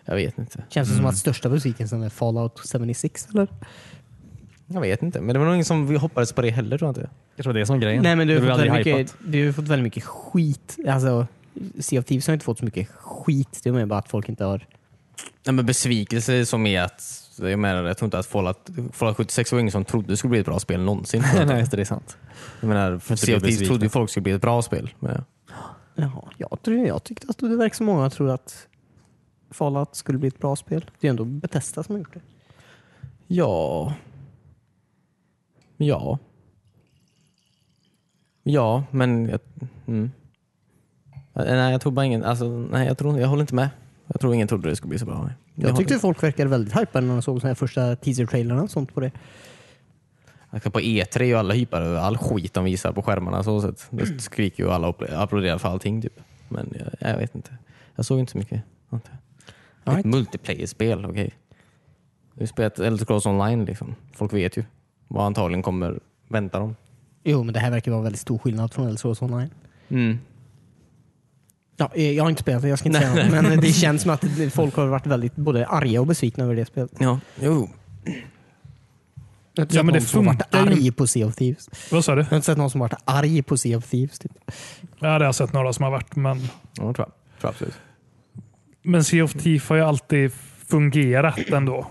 jag vet inte. Känns Mm. det som att största besvikelsen är Fallout 76 eller? Jag vet inte. Men det var nog ingen som vi hoppades på det heller tror jag inte. Kanske var det som var grejen. Nej men du Det har, blev fått väldigt aldrig mycket, hypat. du har ju fått väldigt mycket skit. Alltså, Sea of Thieves har inte fått så mycket skit. Det är mer bara att folk inte har... Nej, men besvikelse som är att jag menar, jag tror inte att Fallout, Fallout 76 var ingen som trodde det skulle bli ett bra spel någonsin. Nej, det är sant. Jag menar, för Inte Sea of bli Thieves besvikna. trodde ju folk skulle bli ett bra spel. Men, Jaha, jag, tror, jag tyckte att det verkar som många tror att Fallout skulle bli ett bra spel. Det är ändå Bethesda som har gjort det. ja. Ja. Ja, men... Jag, mm. Nej, jag tror bara ingen... Alltså, nej, jag, tror, jag håller inte med. Jag tror ingen trodde det skulle bli så bra. Jag tyckte folk verkade väldigt hypade när de såg så här första teaser-trailerna och sånt på det. Alltså på E3 är ju alla hypade över all skit de visar på skärmarna. Så sätt. Det skriker ju alla och applåderar för allting. Typ. Men jag, jag vet inte. Jag såg inte så mycket. Inte. Alright. Ett multiplayer-spel, okej. Du spelar ett Elder Scrolls online liksom. Folk vet ju vad antagligen kommer vänta dem. Jo, men det här verkar vara en väldigt stor skillnad från Elder Scrolls Online. Mm. Ja, eh, jag har inte spelat det, jag ska inte säga något, men det känns som att det- folk har varit väldigt både arga och besvikna över det spelet. Ja, jo. Jag har inte Ja, sett men det någon som har varit funkar ju. arg på Sea of Thieves. Vad sa du? Jag har inte sett någon som har varit arg på Sea of Thieves. Typ. Ja, det har jag sett några som har varit, men, Ja, tror jag. Tror jag absolut. men Sea of Thief har ju alltid fungerat ändå.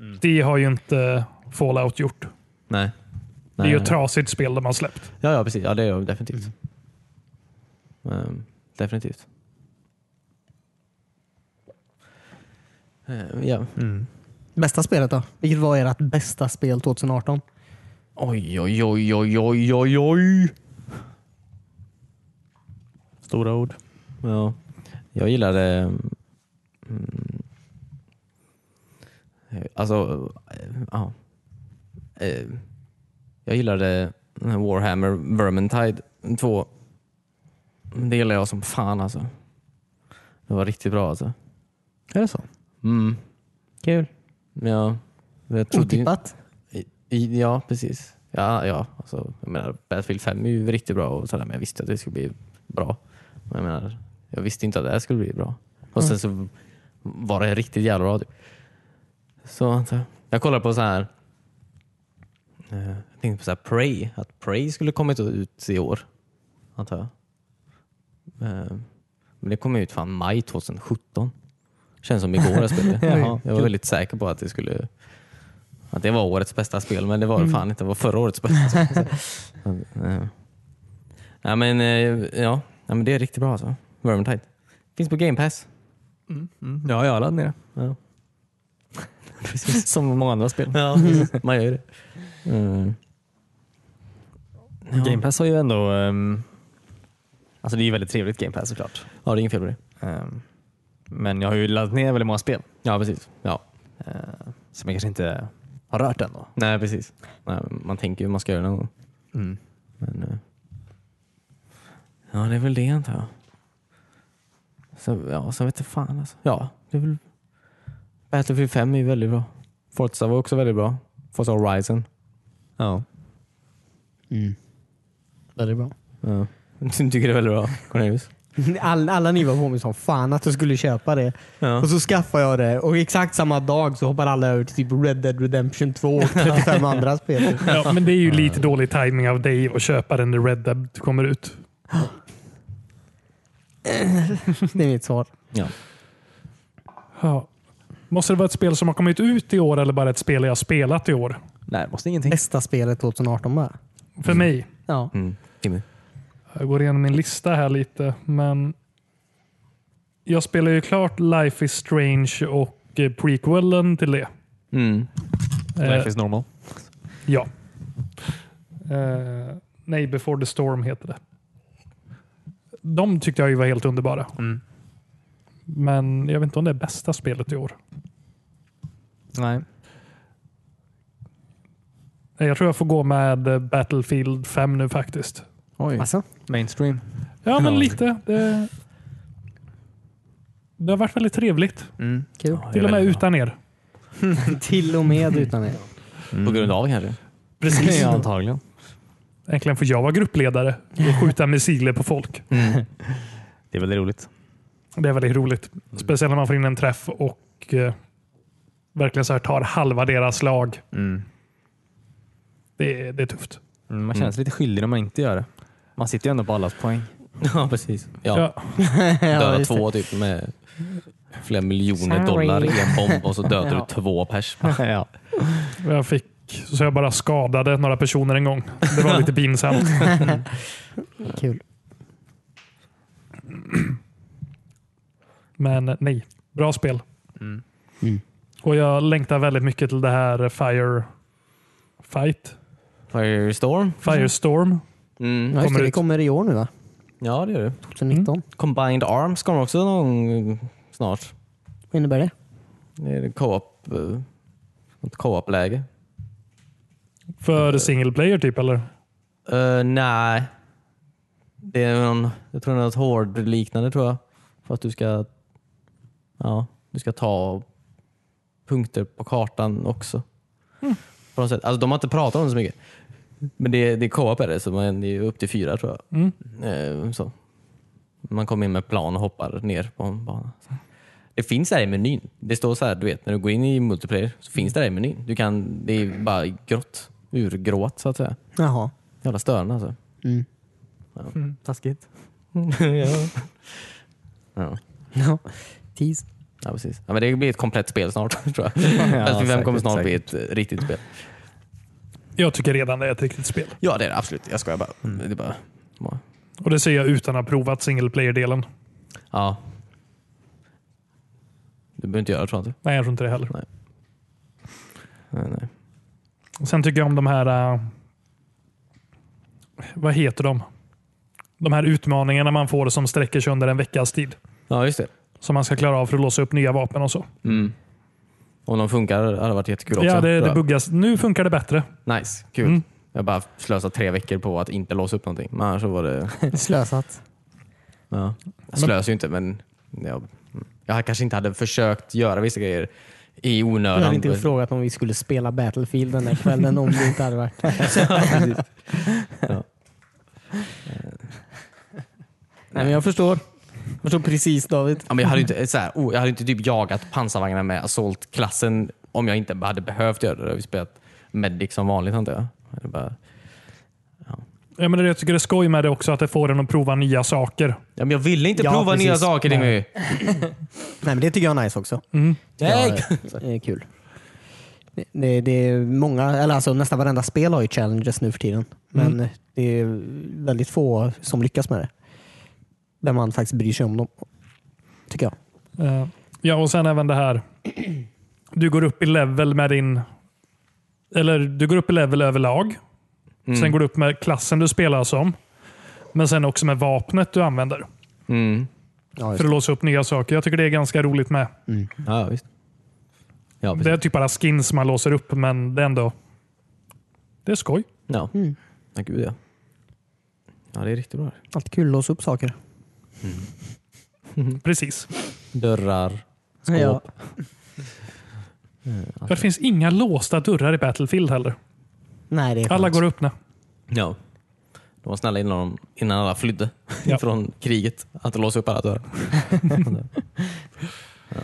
Mm. Det har ju inte Fallout gjort. Nej. Det är ju ett trasigt spel de har släppt. Ja, ja, precis. Ja, det är jag definitivt. Ehm, definitivt. Ehm, ja. Bästa spelet då? Oh, Vilket var ert bästa spel 2018? Oj, oj, oj, oj, oj, oj, oj. Stora ord. Ja. Jag gillade... mm, eh, Alltså, eh, ja. Eh, Jag gillade Warhammer Vermintide 2. Det gillade jag som fan alltså. Det var riktigt bra alltså. Är det så? Mm. Kul. Ja. Jag trodde ju- Otippat. I- Ja, precis. Ja, ja. Alltså, jag menar, Battlefield 5 är ju riktigt bra och sådär, men jag visste att det skulle bli bra. Men jag, menar, jag visste inte att det här skulle bli bra. Och sen så var det riktigt jävla bra. Typ. Så antar jag. Jag kollade på så här. eh, Jag tänkte på så här Prey, att Prey skulle kommit ut i år. Antar jag. Eh, Men det kom ut fan maj 2017. Känns som igår jag spelade. Jaha. jag var väldigt säker på att det skulle att det var årets bästa spel, men det var det fan inte. Det var förra årets bästa spel. Så, eh. Nej, men, eh, ja. Nej, men det är riktigt bra alltså. Vermintide. Finns på Game Pass. Ja, jag laddade ner det. Ja. Precis. Som många andra spel. Ja, man gör det. Mm. Ja. Game Pass har ju ändå... ehm, alltså det är ju väldigt trevligt Game Pass såklart. Ja, det är inget fel på det. Ehm, men jag har ju laddat ner väldigt många spel Ja, precis. Ja. eh, som jag kanske inte har rört än. Då. Nej, precis. Nej, men man tänker ju hur man ska göra någon gång. Men, eh, ja, det är väl det antar jag. Så, ja, så vet jag fan alltså. Ja, det är väl... Battlefield 5 är ju väldigt bra. Forza var också väldigt bra. Forza Horizon. Ja. Väldigt bra. Ja. Du tycker det är väldigt bra, Cornelius? All, alla ni var på mig som fan att du skulle köpa det. Ja. Och så skaffade jag det och exakt samma dag så hoppar alla över till typ Red Dead Redemption 2 och 35 andra spel. Ja, men det är ju lite dålig timing av dig att köpa den när Red Dead kommer ut. Det är mitt svar. Ja. Ja. Måste det vara ett spel som har kommit ut i år eller bara ett spel jag har spelat i år? Nej, det måste ingenting. Bästa spelet 2018 bara. För mig. Ja. Mm. Timmy. Jag går igenom min lista här lite, men jag spelar ju klart Life is Strange och eh, prequelen till det. Mm. Eh, Life is normal. Ja. Eh, nej, Before the Storm heter det. De tyckte jag ju var helt underbara. Men jag vet inte om det är bästa spelet i år. Nej. Nej, Jag tror jag får gå med eh, Battlefield 5 nu faktiskt. Oj. Alltså, Mainstream. Ja, men Ja. lite. Det, det har varit väldigt trevligt. Mm. kul. Till och med utan er. Till och med utan det. På grund av kanske? Precis. Ja, antagligen. Äntligen får jag vara gruppledare och skjuta missiler på folk. Det är väldigt roligt. Det är väldigt roligt. Mm. Speciellt när man får in en träff och eh, verkligen så här tar halva deras slag. Mm. Det, är- det är tufft. Mm, man känner sig lite skyldig om man inte gör det. Man sitter ju ändå på allas poäng. Ja, precis. Ja. Ja. Ja, Döda just det. två typ med flera miljoner Sorry. dollar i en bomb och så dödar Ja. du två pers. ja. Jag fick så jag bara skadade några personer en gång. Det var lite pinsamt. Kul. Men nej, bra spel. Mm. Mm. Och Jag längtar väldigt mycket till det här Fire Fight. Firestorm? Firestorm. Ja, Mm. just det, Kommer det ut. kommer Mm. i år nu va? Ja, det gör det. 2019. Combined Arms kommer också någon snart. Vad innebär det? Det är en co-op, eh, ett co-op-läge. Mm. För single player typ eller? Eh, nej. Det är någon, jag tror det är något hård-liknande tror jag. För att du ska, ja, du ska ta punkter på kartan också. På något sätt. Alltså, de har inte pratat om det så mycket. Men det, det är co-op är det, så man, det är upp till fyra tror jag. Mm. Eh, så. Man kommer in med plan och hoppar ner på en bana. Så. Det finns där i menyn. Det står så här, du vet, när du går in i multiplayer så finns det där i menyn. Du kan, det är bara grått. Urgrått så att säga. Jaha. Jävla störande alltså. Mm. Taskigt. ja. Ja. Ja. Tease. ja, precis. Ja, men det blir ett komplett spel snart tror jag. Ja, Battlefield 5 kommer säkert, snart bli ett eh, riktigt spel. Jag tycker redan det är ett riktigt spel. Ja, det är det absolut. Jag skojar bara. Det är bara... Och Det ser jag utan att ha provat single player-delen. Ja. Du behöver inte göra det tror jag inte. Nej, jag tror inte det heller. Nej, nej. Sen tycker jag om de här... eh, vad heter de? De här utmaningarna man får som sträcker sig under en veckas tid. Ja, just det. Som man ska klara av för att låsa upp nya vapen och så. Mm. Om de funkar hade varit jättekul också. ja, tror det, det jag. buggas. Nu funkar det bättre. Nice, kul. Mm. Jag bara slösat tre veckor på att inte låsa upp någonting. Men annars så var det... Slösat. Ja. Jag slösar ju inte men jag, jag kanske inte hade försökt göra vissa grejer i Jag onödan. hade inte frågat om vi skulle spela Battlefield den där kvällen om det inte hade varit. Nej, men jag förstår. Jag förstår precis David. Ja, men jag, hade ju inte, så här, oh, jag hade ju inte typ jagat pansarvagnar med assaultklassen om jag inte hade behövt göra det. Jag hade ju spelat Medic som vanligt antar jag. Det är bara, Ja, men det, jag tycker det är skoj med det också att det får en att prova nya saker. ja, men jag ville inte Ja, prova precis. nya saker Dimmy. Nej, men det tycker jag är nice också. Mm. Nej. Det är kul. Det- Det, det är många, eller alltså nästan varenda spel har ju challenges nu för tiden. Men Mm. det är väldigt få som lyckas med det. Där man faktiskt bryr sig om dem. Tycker jag. Eh, ja, och sen även det här. Du går upp i level med din... Eller du går upp i level överlag. Sen går du upp med klassen du spelar som. Men sen också med vapnet du använder. Mm. Ja, För just. att låsa upp nya saker. Jag tycker det är ganska roligt med. Ja, visst. Ja, Det precis. är typ bara skins man låser upp, men det är ändå... Det är skoj. Ja. ja, gud ja. Ja, det är riktigt bra. det. Allt kul att låsa upp saker. Precis. Dörrar, skåp. Ja. Det finns inga låsta dörrar i Battlefield heller. Nej, det är Alla skönt. går att öppna. Ja. De var snälla innan, de, innan alla flydde Ja. från kriget. Att låsa upp alla dörrar. ja.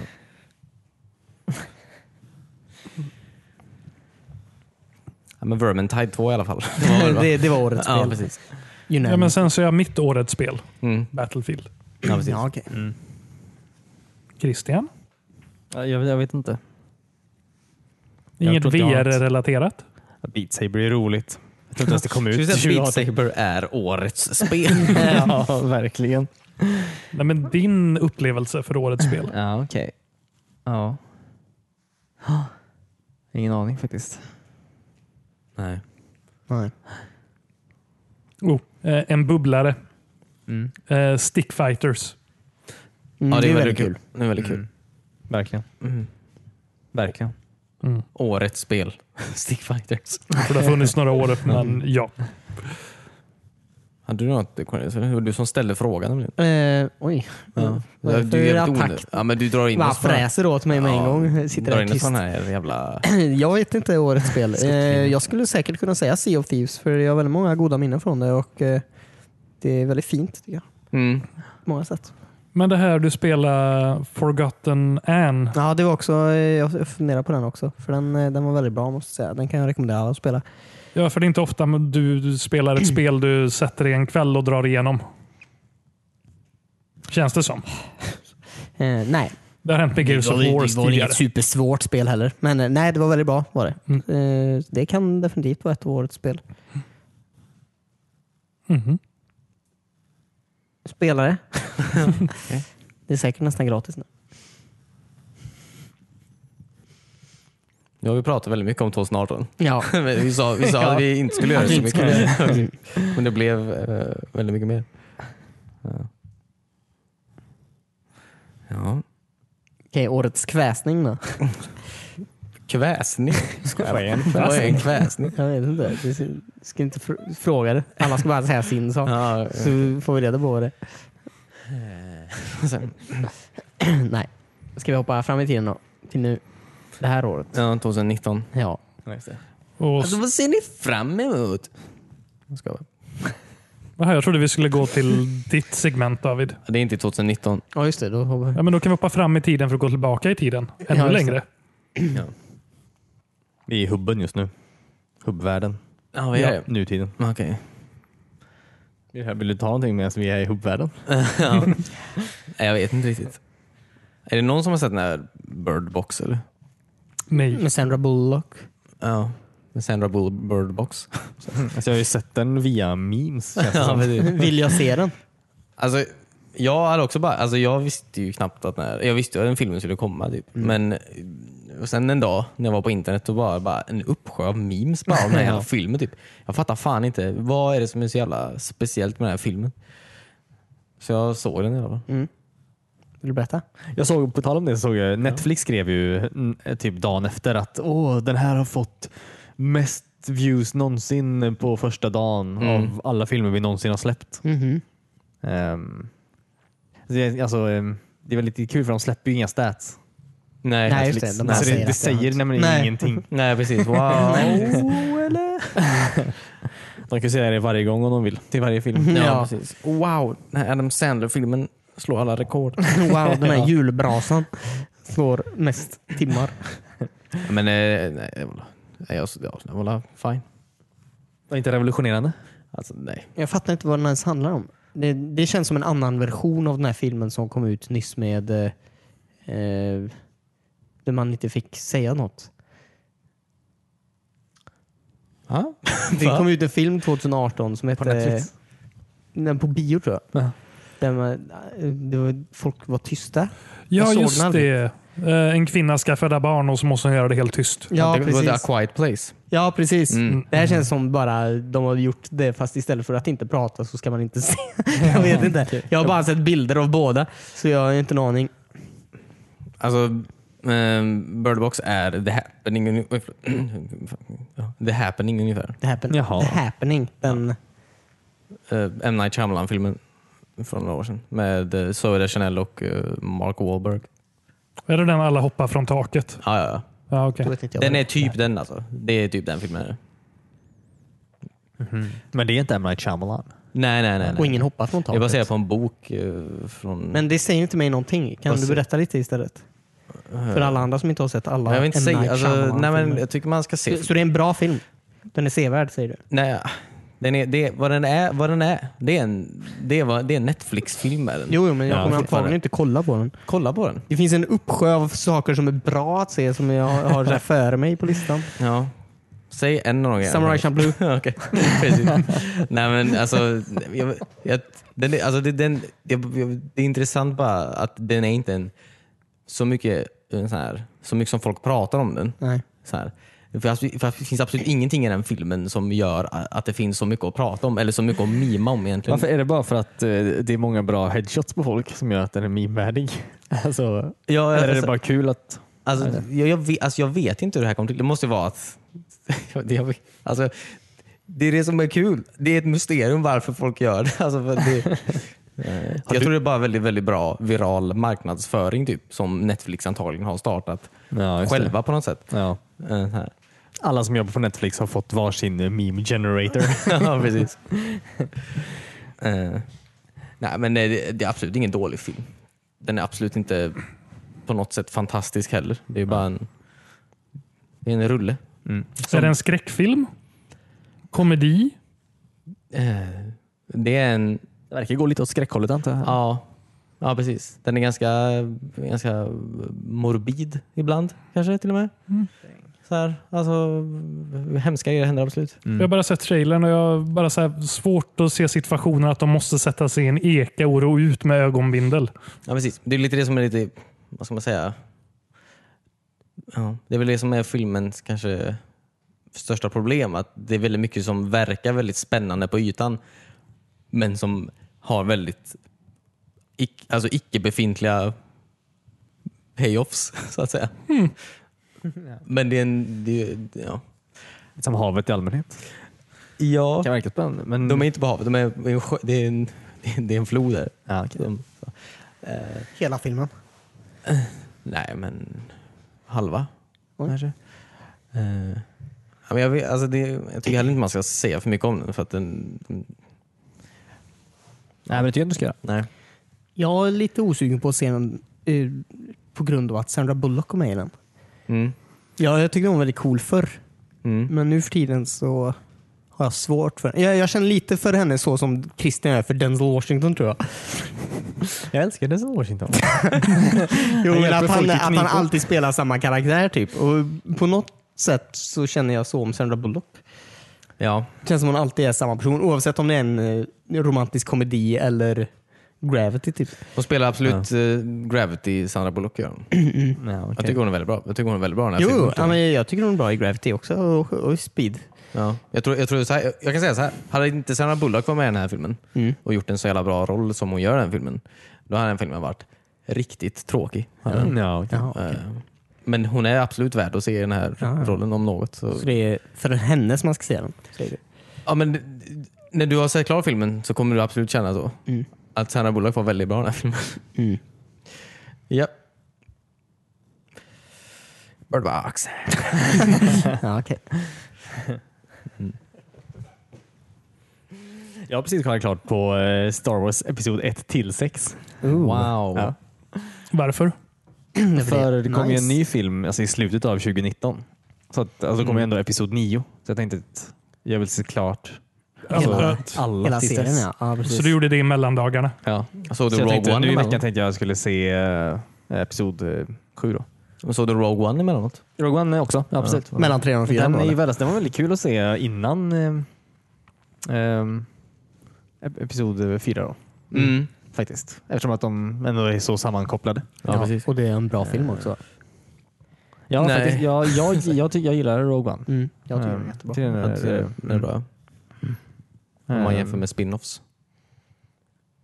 ja, men Vermintide 2 i alla fall. Det var väl bra. det, det var årets ja, spel. precis. You know. Ja, men sen så är jag mitt årets spel, Mm. Battlefield. Ja, precis. Ja, okej. Christian? Jag, jag vet inte. Jag Inget tror inte jag har något. VR-relaterat? Beat Saber är roligt. Jag tror inte ens det kom ut. Ska vi säga att 2018. Beat Saber är årets spel? ja, verkligen. Nej, men din upplevelse för årets Mm. spel? Ja, okej. Ja. Ingen aning faktiskt. Nej. Nej. Oh, eh, en bubblare. Mm. Eh, Stickfighters. Mm, Ja, det är väldigt kul. Det är väldigt kul. Verkligen. Mm. Verkligen. Mm. Årets spel. Stickfighters. Jag tror det har funnits några år, men ja. Hade du något Cornelius? Det var du som ställde frågan. nämligen. Eh, oj. Ja. Ja, Varför är Du det är attack? attack. Ja, men du drar in Bara oss på den här- fräser åt mig med en Ja, gång. Sitter drar där in oss på tyst. den här jävla... Jag vet inte årets spel. Eh, Skottlinjen. jag skulle säkert kunna säga Sea of Thieves för jag har väldigt många goda minnen från det och eh, det är väldigt fint tycker jag. Mm. På många sätt. Men det här du spelar Forgotten Anne. Ja, det var också, eh, jag funderar på den också för den, eh, den var väldigt bra måste jag säga. Den kan jag rekommendera alla att spela. Ja, för det är inte ofta men du, du spelar ett spel du sätter i en kväll och drar igenom. Känns det som. Eh, nej, Det har hänt med Gears of War det var tidigare. inget supersvårt spel heller. Men eh, nej, det var väldigt bra var det. Mm. Eh, det kan definitivt vara ett av årets spel. Mhm. Spelare. det är säkert nästan gratis nu. Nu har vi pratat väldigt mycket om 2018. Ja. Men vi sa, vi sa att vi inte skulle göra det så mycket. Men det blev eh, väldigt mycket mer. Ja. Ja. Okej, årets kväsning då? Kväsning. Vad är en Vad är en kväsning? Jag vet inte. Du ska- ska inte fr- fråga det. Alla ska bara säga sin sak. Ja, Så får vi reda på det. sen- Nej. Ska vi hoppa fram i tiden då? Till nu. Det här året. ja, 2019. Ja. Och, Alltså vad ser ni fram emot? Jag skojar bara. Jaha, jag trodde vi skulle gå till ditt segment David. Ja, Det är inte 2019. Ja, just det. Då hoppar vi. Ja, men då kan vi hoppa fram i tiden för att gå tillbaka i tiden. Ännu Ja, just längre. Vi är i hubben just nu. Hubbvärlden. Ja, Vi vad är är ja. det? nutiden. Ja, Okej. Vill du ta någonting medan vi är i hubbvärlden? Ja. Nej, Jag vet inte riktigt. Är det någon som har sett den här Bird Box? Eller? Nej. Med Sandra Bullock. Ja. Med Sandra Bull Bird Box. Alltså jag har ju sett den via memes. känns det som. Vill jag se den? Alltså, jag hade också bara, alltså jag visste ju knappt att när, jag visste ju att den filmen skulle komma typ. Men eh, och sen en dag när jag var på internet då var det bara en uppsjö av memes bara om den här Ja. filmen typ. Jag fattar fan inte, vad är det som är så jävla speciellt med den här filmen? Så jag såg den i alla fall. Vill du berätta? Jag såg, på tal om det, så såg jag Netflix skrev ju mm, typ dagen efter att Åh, den här har fått mest views någonsin på första dagen av alla filmer vi någonsin har släppt. Mhm. Ehm, det, är- alltså, ehm, det är väl lite kul för de släpper ju inga stats. Nej, Nej, Netflix. just det. De Nej. Alltså, säger det, att det det säger har- nämligen Nej. ingenting. Nej precis, wow. De kan säga det varje gång om de vill. Till varje film. Ja, Ja. precis. Wow, den här Adam Sandler-filmen slår alla rekord. Wow, den här julbrasan slår mest timmar. Men eh, nej, det var- nej, jag, ja, det var fine. Var inte revolutionerande? Alltså, nej. Jag fattar inte vad den ens handlar om. Det, det känns som en annan version av den här filmen som kom ut nyss med eh, eh, där man inte fick säga något. Ja. Det kom ut en film 2018 som hette... Netflix? Den på bio tror jag. Ja. Där man, det var, folk var tysta. Ja, Jag såg den just aldrig. det. Eh, En kvinna ska föda barn och så måste hon göra det helt tyst. Ja, det var precis. The Quiet Place. Ja, precis. Mm. Det här känns som bara de har gjort det fast istället för att inte prata så ska man inte se. Jag vet inte. Jag har bara sett bilder av båda så jag har inte en aning. Alltså, ehm, Bird Box är The Happening, uni- the happening ungefär. The, happen- Jaha. the happening. Den, Eh, M. Night Shyamalan-filmen från några år sedan med eh, Zoe Deschanel och eh, Mark Wahlberg. Är det den alla hoppar från taket? Ja, ja, ja. Ja, okej. Då vet inte jag Den vad är det typ den alltså. Det är typ den filmen. Men det är inte M. Night Shyamalan. Nej, nej, nej. Och nej. ingen hoppar från Jag taket. baserar på en bok eh, från... Men det säger inte mig någonting. Kan Vad du säger- berätta lite istället? För alla andra som inte har sett alla jag vill inte M. Night säga. Alltså, nej, men Shyamalan-filmer. jag tycker man ska se. Så- Så det är en bra film? Den är sevärd säger du? Nej, den är, det, vad den är, vad den är. Det är en, det är, vad- det är en Netflix-film är den. Jo, jo, men jag Ja, kommer fortfarande. antagligen inte kolla på den. Kolla på den. Det finns en uppsjö av saker som är bra att se som jag har så här före mig på listan. Ja. Säg en av de grejerna. Samurai Champloo. Okej, precis. Nej men alltså, jag, jag, den, är- alltså det, den, jag, jag, det är intressant bara att den är inte en, så, mycket, en sån här, så mycket som folk pratar om den. Nej. Så här. För, att- för att det finns absolut ingenting i den filmen som gör att det finns så mycket att prata om eller så mycket att mima om egentligen. Varför är det bara för att eh, det är många bra headshots på folk som gör att den är meme-värdig? Alltså, Ja, eller är det alltså- bara kul att... Alltså, jag, jag, vet, alltså, jag vet inte hur det här kom till. Det måste ju vara att... det, jag, vet- alltså, det är det som är kul. Det är ett mysterium varför folk gör det. Alltså, för det Eh, jag tror det är bara väldigt, väldigt bra viral marknadsföring typ, som Netflix antagligen har startat Ja, just det. själva på något sätt. Ja. Eh, här. Alla som jobbar på Netflix har fått varsin eh, meme generator. ja, precis. Eh, nej, men nej, det, det är absolut ingen dålig film. Den är absolut inte på något sätt fantastisk heller. Det är bara en, det är en rulle. Är det en skräckfilm? Komedi? Eh, Det är en... Det verkar gå lite åt skräckhållet antar jag. Ja, ja precis. Den är ganska, ganska morbid ibland kanske till och med. Så här, alltså, hemska grejer händer absolut. Mm. Jag har bara sett trailern och jag har bara så här svårt att se situationen att de måste sätta sig i en eka och ro ut med ögonbindel. Ja, precis. Det är lite det som är lite, vad ska man säga? Ja, det är väl det som är filmens kanske största problem. Att det är väldigt mycket som verkar väldigt spännande på ytan men som har väldigt ic- alltså icke-befintliga payoffs så att säga. Hmm. Men det är en... Det, är- ja. Lite Som liksom havet i allmänhet. ja. Kan verka spännande. Men... De är inte på havet, de är, det är en sjö- det, är en, det är en flod där. ja, okej. De, så. Hela filmen. Nej, men halva. Oj. kanske. Eh, ja, men jag, vet, alltså det, jag tycker heller inte man ska säga för mycket om den. För att den Nej, men det tycker jag du ska göra. nej. Jag är lite osugen på att se den eh, på grund av att Sandra Bullock kom med i den. Mm. Ja, jag tyckte hon var väldigt cool förr. Mm. Men nu för tiden så har jag svårt för jag, jag känner lite för henne så som Christian gör för Denzel Washington tror jag. Jag älskar Denzel Washington. Jo, Han men hjälper att, folk han, i att han knipa. alltid spelar samma karaktär typ. Och på något sätt så känner jag så om Sandra Bullock. Ja. Det känns som hon alltid är samma person oavsett om det är en eh, romantisk komedi eller Gravity typ. Hon spelar absolut eh, Gravity, Sandra Bullock gör hon. ja, okej. Jag tycker hon är väldigt bra. Jag tycker hon är väldigt bra i den här Alltså, Jo, filmen. ja, tror jag. men jag tycker hon är bra i Gravity också och, och i Speed. Ja. Jag, tror, jag, tror så här, jag, jag kan säga så här. Hade inte Sandra Bullock varit med i den här filmen Mm. och gjort en så jävla bra roll som hon gör i den filmen. Då hade den filmen varit riktigt tråkig. Mm, ja, okej. Eh, Men hon är absolut värd att se i den här Ja, ja. rollen om något. Så. Så det är för henne som man ska se den. säger du. Ja, men, d- d- när du har sett klart filmen så kommer du absolut känna så. Mm. Att Sandra Bullock var väldigt bra i den här filmen. Mm. ja. Bird Box. Ja, okej. Jag har precis kollat klart på eh, Star Wars Episod 1 till 6. Wow. Ja. Varför? För det kom ju en nice. ny film alltså, i slutet av 2019. Så att, alltså, då kom ju ändå Episod 9. Så jag tänkte att jag vill se klart alltså, Hela- alla Hela till serien dess. ja. ja precis. Så du gjorde det i mellandagarna? Ja. Såg Alltså, Så du jag Rogue tänkte, One nu i veckan emellanåt? tänkte jag skulle se eh, Episod 7. Då. Såg du Rogue One emellanåt? Rogue One också, ja, absolut. Mellan trean och fyran Den, då, är ju eller? väldigt, den var väldigt kul att se innan eh, ehm, ep- Episod 4. Då, Mm. faktiskt. Eftersom att de ändå är så sammankopplade. Ja, precis. Och det är en bra Eh, film också. Ja, Nej. faktiskt. Ja, jag, jag, tycker jag gillar Rogue One. Mm. Jag tycker den Ehm, är jättebra. till den Jag tycker här, eh, det- det är bra. Mm. Om man jämför med spin-offs.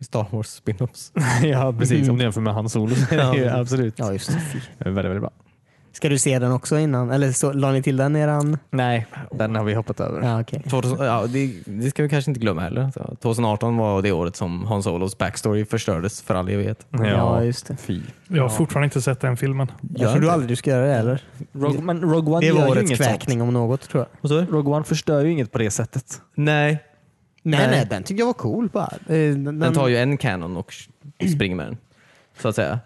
Star Wars spin-offs. Mm. ja, precis. Om du jämför med hans solo så är det ju absolut Ja, just det. väldigt, väldigt bra. Ska du se den också innan? Eller så, la ni till den i eran... Nej, den har vi hoppat över. Ja, okej. 2000, ja, det, det ska vi kanske inte glömma heller. Så 2018 var det året som Han Solos backstory förstördes för all evighet. ja. Ja. just det. Fy. Jag har fortfarande inte sett den filmen. Jag tror du aldrig du ska göra det heller. Rogue, men Rogue One Det var gör ju årets inget kväkning om något tror jag. Vad sa du? sånt. Rogue One förstör ju inget på det sättet. Nej, Nej, Nej. nej, eh, den tyckte jag var cool bara. Eh, Den, den tar ju en kanon och springer med den. Så att säga.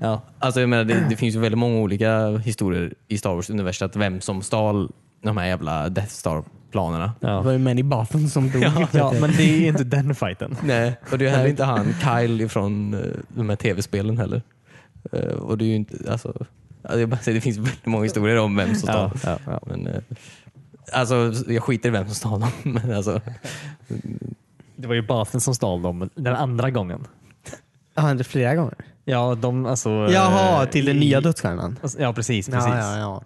Ja. Alltså jag menar, det, det finns ju väldigt många olika historier i Star Wars-universet. Vem som stal de här jävla Death Star-planerna. Det Ja. var ju Manny Barton som dog. ja, men det är inte den fighten. Nej, och det är heller inte han Kyle ifrån eh, de här tv-spelen heller. Eh, Och det är ju inte, alltså, alltså jag bara säger, det finns väldigt många historier om vem som stal. Ja, ja, ja. Men, eh, alltså, jag skiter i vem som stal dem. Men alltså, Det var ju Bathen som stal dem den andra gången. Har hänt det flera gånger? Ja, de alltså... Jaha, eh, till den nya dödsstjärnan? Alltså, Ja, precis. precis. Ja, ja, ja.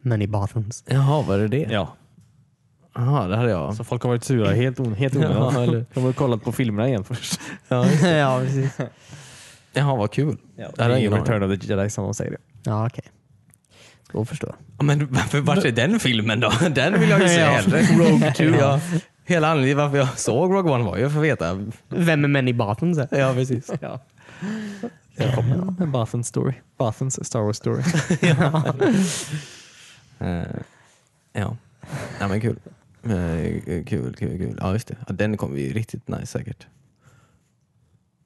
Manny Bartons. jaha, var det det? Ja. Jaha, det hade jag. Så folk har varit sura helt on- helt onödigt. Ja, eller- de har kollat på filmerna igen först. ja, precis. Jaha, vad kul. det hade är jag ju ingen aning Return of the Jedi som de säger det. Ja, okej. Då förstår jag. om. Men varför, varför är den filmen då? Den vill jag ju se Ja. hellre. Rogue 2. Ja. Hela anledningen varför jag såg Rogue One var ju för att veta. Vem är Manny Bartons? Ja, precis. Ja. Jag kommer. En Bathen story. Bathens Star Wars story. Eh, ja. ja, men kul. Eh, kul, kul, kul. Ja, just det. Ja, den kommer bli riktigt nice säkert.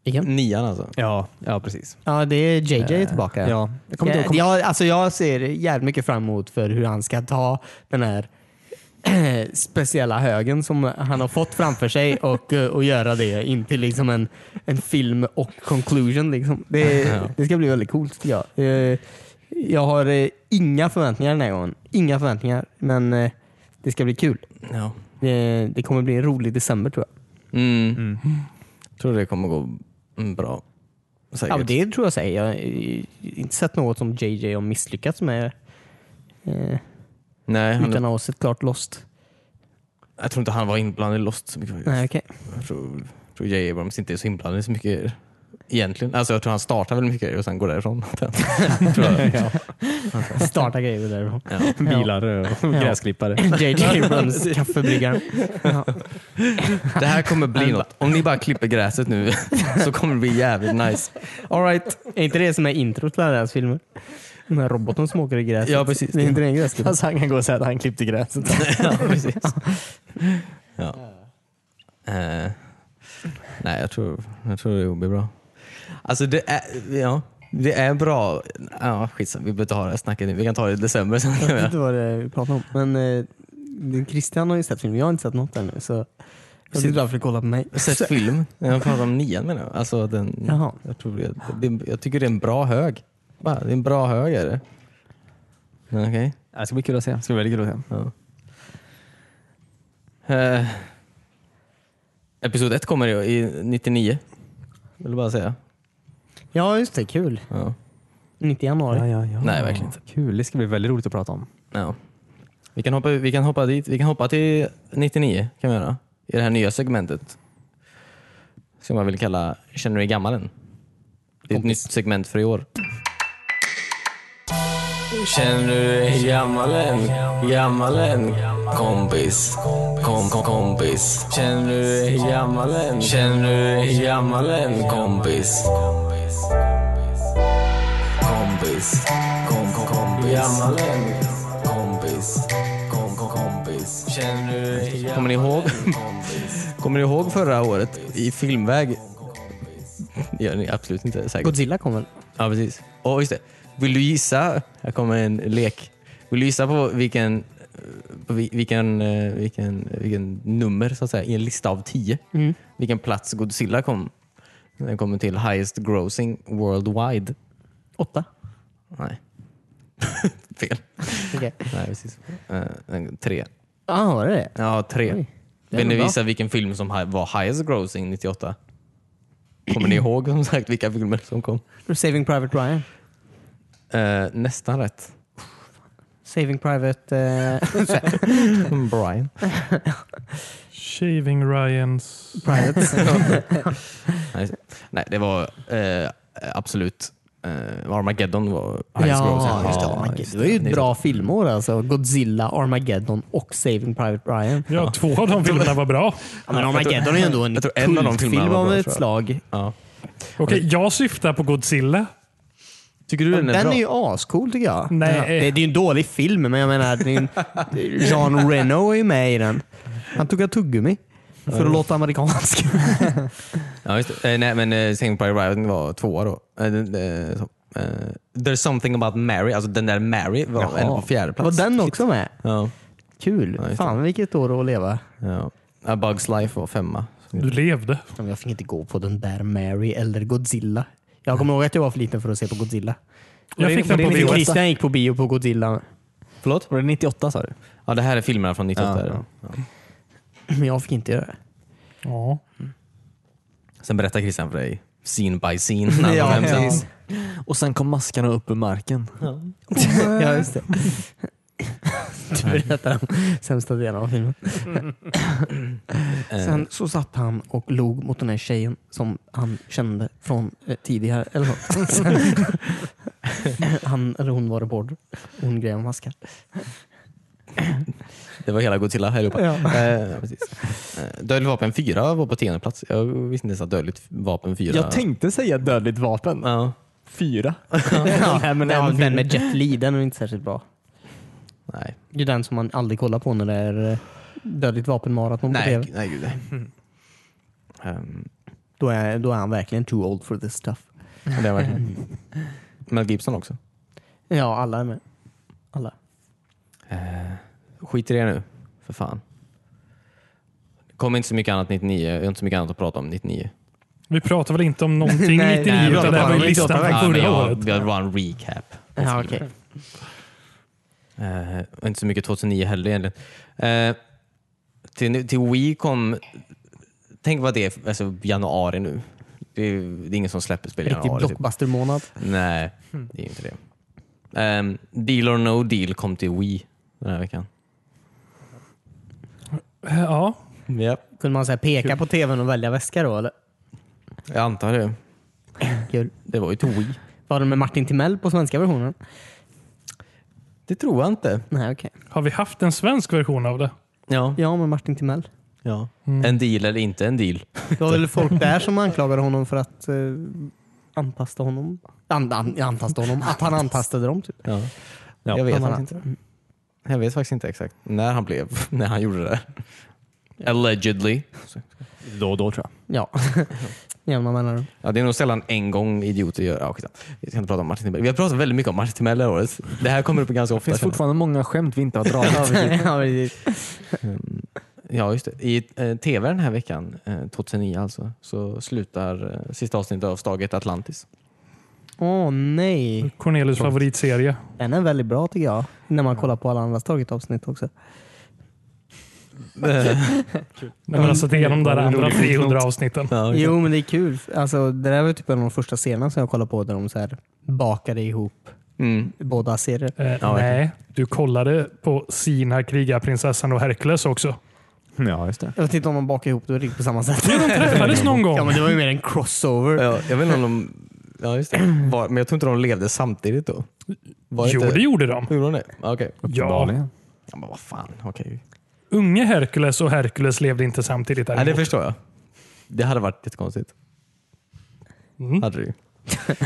Vilken? Nian alltså. Ja, ja precis. Ja, det är JJ tillbaka. Ja. Jag kommer inte ihåg- jag, alltså jag ser jävligt mycket fram emot för hur han ska ta den här speciella högen som han har fått framför sig och, eh, och göra det in till liksom en, en film och conclusion. Liksom. Det, det ska bli väldigt coolt tycker jag. Eh, Jag har eh, inga förväntningar den här gången. Inga förväntningar. Men eh, det ska bli kul. Ja. Det, det kommer bli en rolig december tror jag. Mm. Tror det kommer gå mm, bra. Säkert. Ja, men det tror jag säkert. Jag har eh, inte sett något som JJ har misslyckats med eh, Nej, han, utan att ha sett klart Lost. jag tror inte han var inblandad i Lost så mycket. faktiskt. Nej, okej. Jag tror, jag tror J. Abrams inte är så inblandad i så mycket egentligen. Alltså, jag tror han startar väldigt mycket grejer och sen går därifrån. tror jag. Starta grejer därifrån. Ja. Bilar och gräsklippare. JJ Abrams kaffebryggaren. Det här kommer bli något. Om ni bara klipper gräset nu så kommer det bli jävligt nice. All right. Är inte det som är introt till alla deras filmer? Den här roboten som åker i gräset. Ja, precis. Det är inte det en gräsklippare? Alltså, han kan gå och säga att han klippte gräset. ja, precis. Ja. Eh, nej, jag tror, jag tror det blir bra. Alltså det är, ja, det är bra. Ja, skitsamma, vi behöver inte ha det här snacket nu. Vi kan ta det i december sen. Jag vet inte vad det är vi pratar om. Men eh, det- Christian har ju sett filmen. Jag har inte sett något ännu. Så jag vet inte varför du kollar på mig. Sett film. Jag pratar om nian menar jag. Alltså den, Jaha. jag, tror det, det, jag tycker det är en bra hög. Va? Det är en bra hög är det. Men okej. Ja, Det ska bli kul att se. Det ska bli väldigt kul att se. Eh, episod ett kommer i, i 99. Vill du bara säga. Ja, just det. Kul. Ja. 90 januari. ja, ja. Nej, verkligen inte. Kul. Det ska bli väldigt roligt att prata om. Ja. Vi kan hoppa, vi kan hoppa dit. Vi kan hoppa till 99 kan vi göra. I det här nya segmentet. Som jag vill kalla Känner du dig gammal än? Det är ett nytt segment för i år. Känner du dig gammal än? Gammal än? Kompis. Kom, kom, kompis. Känner du dig gammal än? Känner du dig gammal än? Kompis. Kompis. Kom, kom, kompis. Gammal än? Kompis. Kom, kom, kompis. Känner du dig gammal Kommer ni ihåg? Kommer ni ihåg förra året i filmväg? Gör ni absolut inte säkert. Godzilla kommer. Ja, precis. Och just det. Vill du gissa? Här kommer en lek. Vill du gissa på vilken, på vi- vilken, eh, vilken, vilken nummer så att säga, i en lista av tio? Mm. Vilken plats Godzilla kom? Den kommer till highest grossing worldwide. Åtta. Nej. Fel. Okej. Nej, precis. Eh, en- tre. Ja, var det det? Ja, tre. det är Vill ni nog bra. visa vilken film som hi- var highest grossing 98? Kommer ni ihåg som sagt vilka filmer som kom? Saving Private Ryan. Eh, nästan rätt. Saving Private... eh, Brian. Shaving Ryans... Private. Nej, nej det var eh, absolut eh, Armageddon var highest Ja, grossing. just det. Armageddon. Det var ju ett bra filmår alltså. Godzilla, Armageddon och Saving Private Ryan. Ja, två av de filmerna var bra. Ja, men Armageddon är ju ändå en jag tror en av de filmerna kultfilm var av bra, ett tror jag. slag. Ja. Okej, jag syftar på Godzilla. Tycker du den är Den bra? är ju ascool tycker jag. Nej. Ja. Det, det är ju en dålig film, men jag menar, det är ju en, Jean Reno är ju med i den. Han tog ett tuggummi för att låta amerikansk. Ja, just det. Eh, nej, men eh, Saving Private Ryan var tvåa då. Eh, den, eh, så, eh, There's something about Mary, alltså den där Mary var en på fjärde plats. Var den också med? Ja, Kul. just det. Fan vilket år att leva. ja. A Bugs Life var femma. Du levde. Ja, men Jag fick inte gå på den där Mary eller Godzilla. Jag kommer ihåg att jag var för liten för att se på Godzilla. Jag det- fick var den på det lite VHS. kris? Christian gick på bio på Godzilla, Förlåt? Var det 98 sa du? Ja, det här är filmerna från 98. Ja, Ja, men jag fick inte göra det. Ja. Sen berättar Christian för dig, scene by scene. när han Ja, kom hem sen. precis. Och sen kom maskarna upp ur marken. ja, just det. Du berättar om sämsta delen av filmen. Mm. Eh, Sen så satt han och log mot den här tjejen som han kände från eh, tidigare. Eller något. Sen- han eller hon var reporter. Hon grejade maskar. Det var hela Godzilla här uppe. Ja. Eh, ja, precis. Eh, Dödligt vapen 4 var på tionde plats. Jag visste inte ens att Dödligt vapen 4... Jag tänkte säga dödligt vapen. Ja. Fyra. Ja, men den den, filmen. med Jet Li, den är inte särskilt bra. Nej. Det är den som man aldrig kollar på när det är eh, dödligt vapenmaraton på Nej, tv. nej, gud nej. Ehm, Då är, då är han verkligen too old for this stuff. men det var verkligen. Mel Gibson också. Ja, alla är med. Alla. Skit i det nu, för fan. Det kom inte så mycket annat 99. Jag har inte så mycket annat att prata om 99. Vi pratar väl inte om någonting Nej, 99, nej, vi utan det här var ju listan pratar om från Ja, men förra jag, året. vi har bara en recap. Ja, okej. Eh, och inte så mycket 2009 heller egentligen. Eh, till, till Wii kom... Tänk vad det är för- alltså, januari nu. Det är, det är ingen som släpper spel i Riktig januari. Typ. blockbuster-månad. Nej, det är ju inte det. Ehm, deal or no deal kom till Wii den här veckan. Ja. Yep. Kunde man så här peka på tvn och välja väska då? Eller? Jag antar det. Kul. Det var ju till Wii. Var den med Martin Timell på svenska versionen? Det tror jag inte. Nej, okej. Har vi haft en svensk version av det? Ja. Ja, med Martin Timell. ja. En deal eller inte en deal. Det var väl folk där som anklagade honom för att eh, antasta honom. An, an, antasta honom. Att han antastade dem. Typ. Ja. Jag vet Han var- faktiskt inte. Jag vet faktiskt inte exakt när han blev, när han gjorde det där. Allegedly. Då och då tror jag. Ja. Jämna mellanrum. Ja, det är nog sällan en gång idioter gör... Ja, skitsamma. vi ska inte prata om Martin Timell. Vi har pratat väldigt mycket om Martin Timell det här året. Det här kommer upp ganska Det ofta. finns känner jag. fortfarande många skämt vi inte har dragit. Ja, precis. Ja, precis. Ja, just det. I eh, tv den här veckan, eh, 2009 alltså, så slutar eh, sista avsnittet av Staget Atlantis. Åh nej. Cornelius favoritserie. Den är väldigt bra tycker jag. När man kollar på alla andra Stargate avsnitt också. När Mm. man har sett igenom de där det är en andra rolig fotnot. 300 avsnitten. Jo men det är kul. Alltså, det där var typ en av de första scenerna som jag kollade på där de så här bakade ihop Mm. båda serier. Eh, Ja, nej, du kollade på Sina, krigarprinsessan och Herkules också. Ja, just det. Jag vet inte om de bakade ihop det riktigt på samma sätt. De träffades någon gång. Ja men det var ju mer en crossover. Ja, jag vet inte om de... Ja, just det. Var, men jag tror inte de levde samtidigt då. Var jo, inte- det gjorde de. Gjorde de det? Ja, Okej. Ja. Uppenbarligen. Ja, men vad fan. Okej. Unge Herkules och Herkules levde inte samtidigt. Nej, det Däremot. förstår jag. Det hade varit jättekonstigt. Mm. Hade det ju.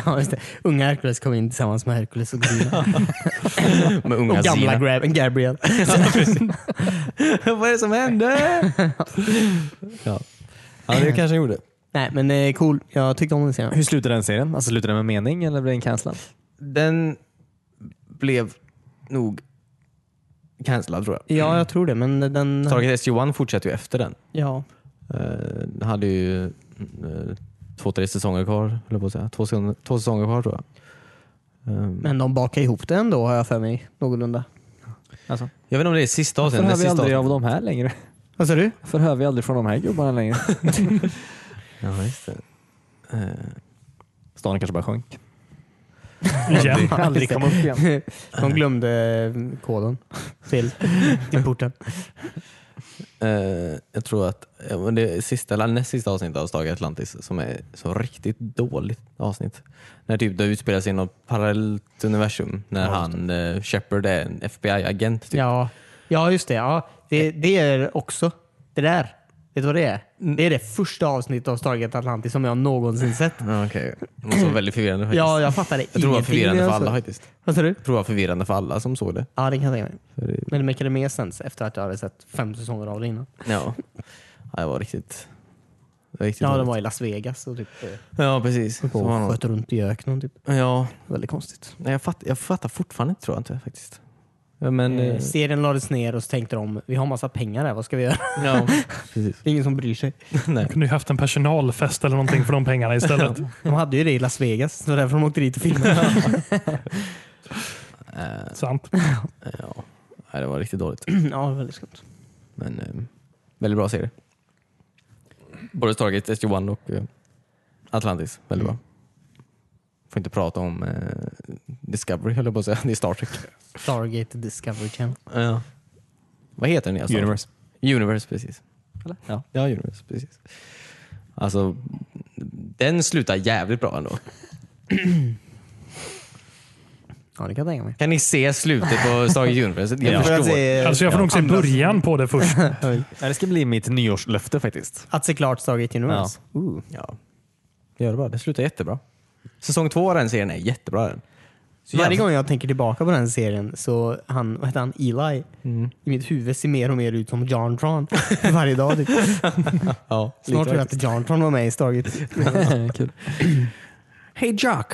Ja, just det. Unga Hercules kom in tillsammans med Hercules och Gina. Med unga och gamla Zina. Grab Gabriel. Vad är det som hände? ja. ja, det kanske jag gjorde. Nej men eh, cool. Jag tyckte om den serien. Hur slutar den serien? Alltså slutar den med mening eller blir den cancellad? Den blev nog cancellad tror jag. Mm. Ja jag tror det men den... Target SG1 fortsätter ju efter den. Ja. Eh, Den hade ju eh, två, tre säsonger kvar, höll jag på att säga. Två, säsonger- två säsonger kvar tror jag. Eh, Men de bakade ihop det ändå har jag för mig. Någorlunda. Alltså. Jag vet inte om det är sista Varför avsnittet. hör näst vi sista aldrig av avsnittet. de här längre? Vad sa du? Varför hör vi aldrig från de här gubbarna längre? Ja, just det. Eh, Staden kanske bara sjönk. Igen. Aldrig kom upp igen. De glömde eh, koden till, till porten. Eh, jag tror att ja, men det är sista eller näst sista avsnittet av Star Atlantis som är så riktigt dåligt avsnitt. När typ det utspelar sig i något parallellt universum när han eh, Shepard är en FBI-agent. Typ. Ja. ja, just det. Ja. Det, det är också det där. Vet du vad det är? Mm. Det är det första avsnittet av Stargate Atlantis som jag någonsin sett. Ja, okej. Det måste vara väldigt förvirrande faktiskt. Ja, jag fattade jag tror det var ingenting, förvirrande för alltså. alla faktiskt. Vad sa du? Jag tror det var förvirrande för alla som såg det. Ja, det kan jag tänka För mig. det- Men det märkade mer sens efter att jag hade sett fem säsonger av det innan. Ja, ja det var riktigt... Det var riktigt Ja, de dåligt. var i Las Vegas och typ, eh, ja precis. höll på Så var och någon- sköt runt i öknen. Typ. Ja, Väldigt konstigt. nej, jag, fatt, jag fattar fortfarande inte tror jag inte faktiskt. Ja, Men, Eh, eh, serien lades ner och så tänkte de, vi har massa pengar här, vad ska vi göra? ja, precis. Det är ingen som bryr sig. Nej. Kunde ju haft en personalfest eller någonting för de pengarna istället. De hade ju det i Las Vegas, så därför de åkte dit och filmade. Eh, Sant. Ja, nej, det var riktigt dåligt. ja, väldigt skumt. Men eh, väldigt bra serie. Både Stargate SG-1 och eh, Atlantis. Väldigt bra. Får inte prata om eh, Discovery höll jag på att säga. Det är Star Trek. Stargate Discovery Channel. Ja. Vad heter den nya Star Trek? Universe. Universe, precis. Eller? Ja. ja, Universe, precis. Alltså, den slutar jävligt bra ändå. Ja, det kan jag tänka mig. Kan ni se slutet på Stargate Universe? Jag Ja. förstår. Alltså jag får nog se början på det först. Nej, det ska bli mitt nyårslöfte faktiskt. Att se klart Stargate Universe. Ooh. Ja. Gör det bara. Det slutar jättebra. Säsong två av den serien är jättebra. Den. Så varje gång jag tänker tillbaka på den serien så han, vad heter han, Eli, Mm. i mitt huvud ser mer och mer ut som John Tron varje dag. Typ. Ja, Snart tror jag att John Tron var med i Stargate. Hey Jock!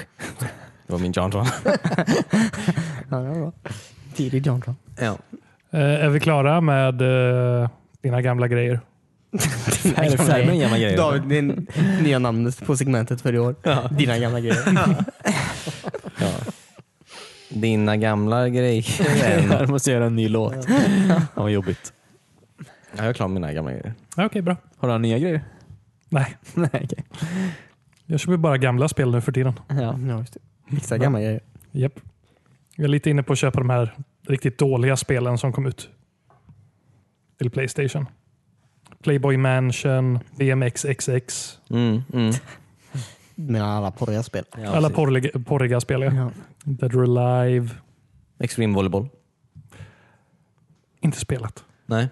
Det var min John Tron. Ja, det var bra. Tidig John Tron. ja. Eh, är vi klara med eh, dina gamla grejer? Här är Färmen gamla grejer. David, det är nya namnet på segmentet för i år. Dina gamla grejer. Dina gamla grejer. Jag måste göra en ny låt. Ja, vad jobbigt. jag är klar med mina gamla grejer. Ja, Okej, bra. Har du några nya grejer? Nej, Nej, okej. jag köper bara gamla spel nu för tiden. Ja. Ja, just det. Extra gamla grejer. Japp. Jag är lite inne på att köpa de här riktigt dåliga spelen som kom ut till Playstation. Playboy Mansion, BMXXX. Mm, mm. Med alla porriga spel. Ja, alla porriga, porriga spel. Ja. Ja. Dead or Alive. Extreme Volleyball. Inte spelat. Nej.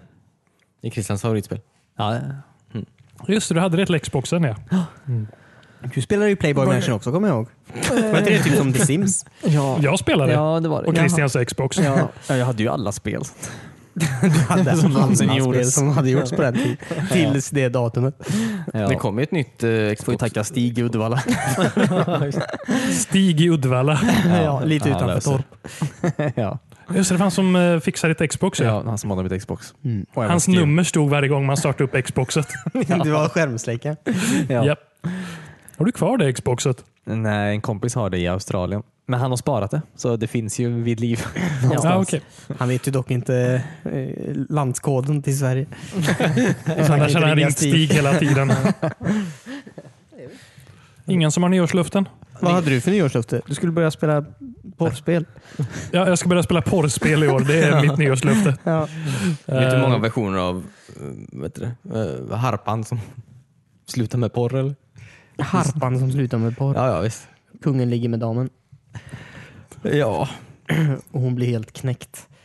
Det är Christians favoritspel. Ja, Just det, du hade det till Xboxen ja. Du spelade ju Playboy Mansion också kommer jag ihåg. Eh. Var inte det typ som The Sims? ja. Jag spelade. ja, det var det. Och Christians Xbox. Ja. Ja, jag hade ju alla spel. Du hade Som alla någonsin spel gjordes. Som hade gjorts på den tiden. Tills det datumet. Ja. Det kom ju ett nytt eh, Får ju Xbox. tacka Stig i Uddevalla. Stig i Uddevalla. Ja, lite Ja, utanför löser. torp. ja. Just det, det var han som eh, fixade ditt Xbox. Ja. ja, han som hade mitt Xbox. Mm. Och även Hans skrev. nummer stod varje gång man startade upp Xboxet. Det var skärmsläckaren. Ja. Japp. Har du kvar det Xboxet? Nej, en kompis har det i Australien. Men han har sparat det, så det finns ju vid liv. Ja, någonstans. okej. Han vet ju dock inte eh, landskoden till Sverige. Så Annars inte hade han ringa ringt Stig. Stig hela tiden. Ingen som har nyårsluften? Vad hade du för nyårslöfte? Du skulle börja spela porrspel. Ja, jag ska börja spela porrspel i år. Det är mitt nyårslöfte. Ja. Vet du hur många Eh, versioner av eh, vet du, det, eh, harpan som slutar med porr? Eller? Harpan som slutar med porr. Ja, ja visst. Kungen ligger med damen Ja. och hon blir helt knäckt.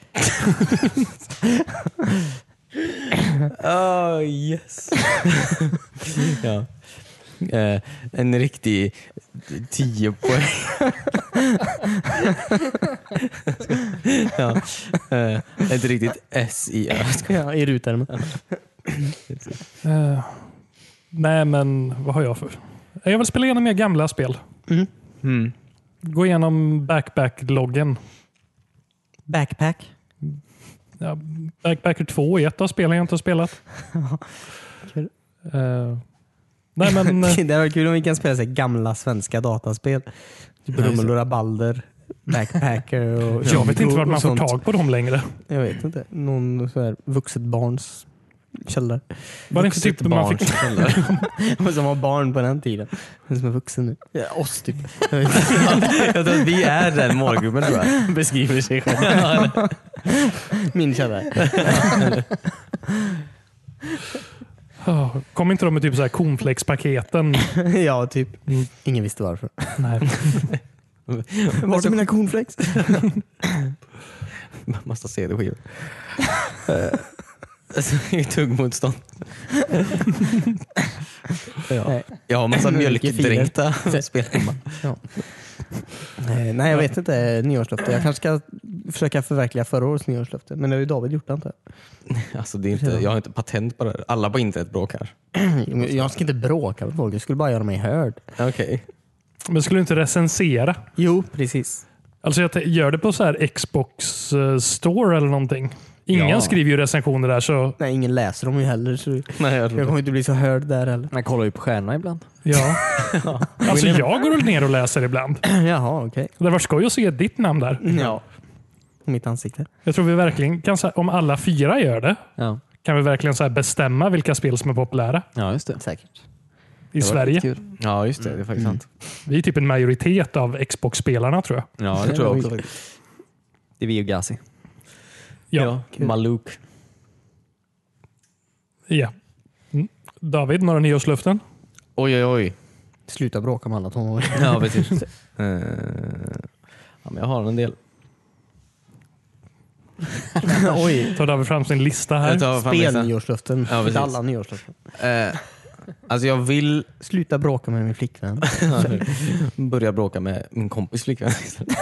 Ah, Oh, yes. ja. eh, en riktig 10 poäng. ja. eh, ett riktigt S i Ö. Ja, I rutermen. eh, nej, men vad har jag för... Jag vill spela igenom mer gamla spel. Mm. Gå igenom Backpack-loggen. Backpack. Ja, Backpacker 2 är ett av spelen jag inte har spelat. Kul. Eh, nej, men... eh, Det hade varit kul om vi kan spela så här gamla svenska dataspel. Typ Rummel och Rabalder, Backpacker och Jag vet inte vart man och får sånt. tag på dem längre. Jag vet inte. Någon så här vuxet barns källare. Var det inte typ man fick Men som var barn på den tiden. Men som är vuxen nu. Ja, oss typ. Jag vet inte. Jag tror att vi är den målgruppen tror jag. Beskriver sig själv. Min källare. Ah, Kom inte de med typ så här cornflakes-paketen? ja, typ. Ingen visste varför. Nej. Vart är mina cornflakes? Massa CD-skivor. Eh, alltså, det är Tuggmotstånd. ja. Nej. Jag har massa Mjölk i mjölkdränkta spel hemma. Eh, Nej, jag vet inte. eh, Nyårslöfte. Jag kanske ska försöka förverkliga förra årets nyårslöfte. Men det har ju David gjort antar jag. Alltså, det är inte, jag har inte patent på det här. Alla på internet bråkar. Men Jag ska inte bråka med folk. Jag skulle bara göra mig hörd. Okej. Men skulle du inte recensera? Jo, precis. Alltså jag te- gör det på så här Xbox eh, store eller någonting. Ingen Ja. skriver ju recensioner där så Nej, ingen läser dem ju heller. Så Nej, jag jag tror kommer inte bli så hörd där heller. Man kollar ju på stjärnorna ibland. ja. alltså jag går väl ner och läser ibland. Jaha, okej. Det var skoj att se ditt namn där. Ja. Mitt ansikte. Jag tror vi verkligen kan, så här, om alla fyra gör det, Ja, kan vi verkligen så här bestämma vilka spel som är populära ja just det. Säkert. i Sverige. det. Ja, just det. Det är faktiskt Mm. sant. Vi är typ en majoritet av Xbox-spelarna tror jag. Ja, Det tror jag också. Det är vi och Gazi. Ja. Ja. Maluk. ja. Mm. David, några nyårslöften? Oj, oj, oj. Sluta bråka med alla tonåringar. Ja, precis. Eh, ja, men jag har en del. Oj. Tar David fram sin lista här? Jag tar fram listan. Spelnyårslöften. Ja, precis. Inte alla nyårslöften. Eh, alltså jag vill Sluta bråka med min flickvän. börja bråka med min kompis flickvän. istället.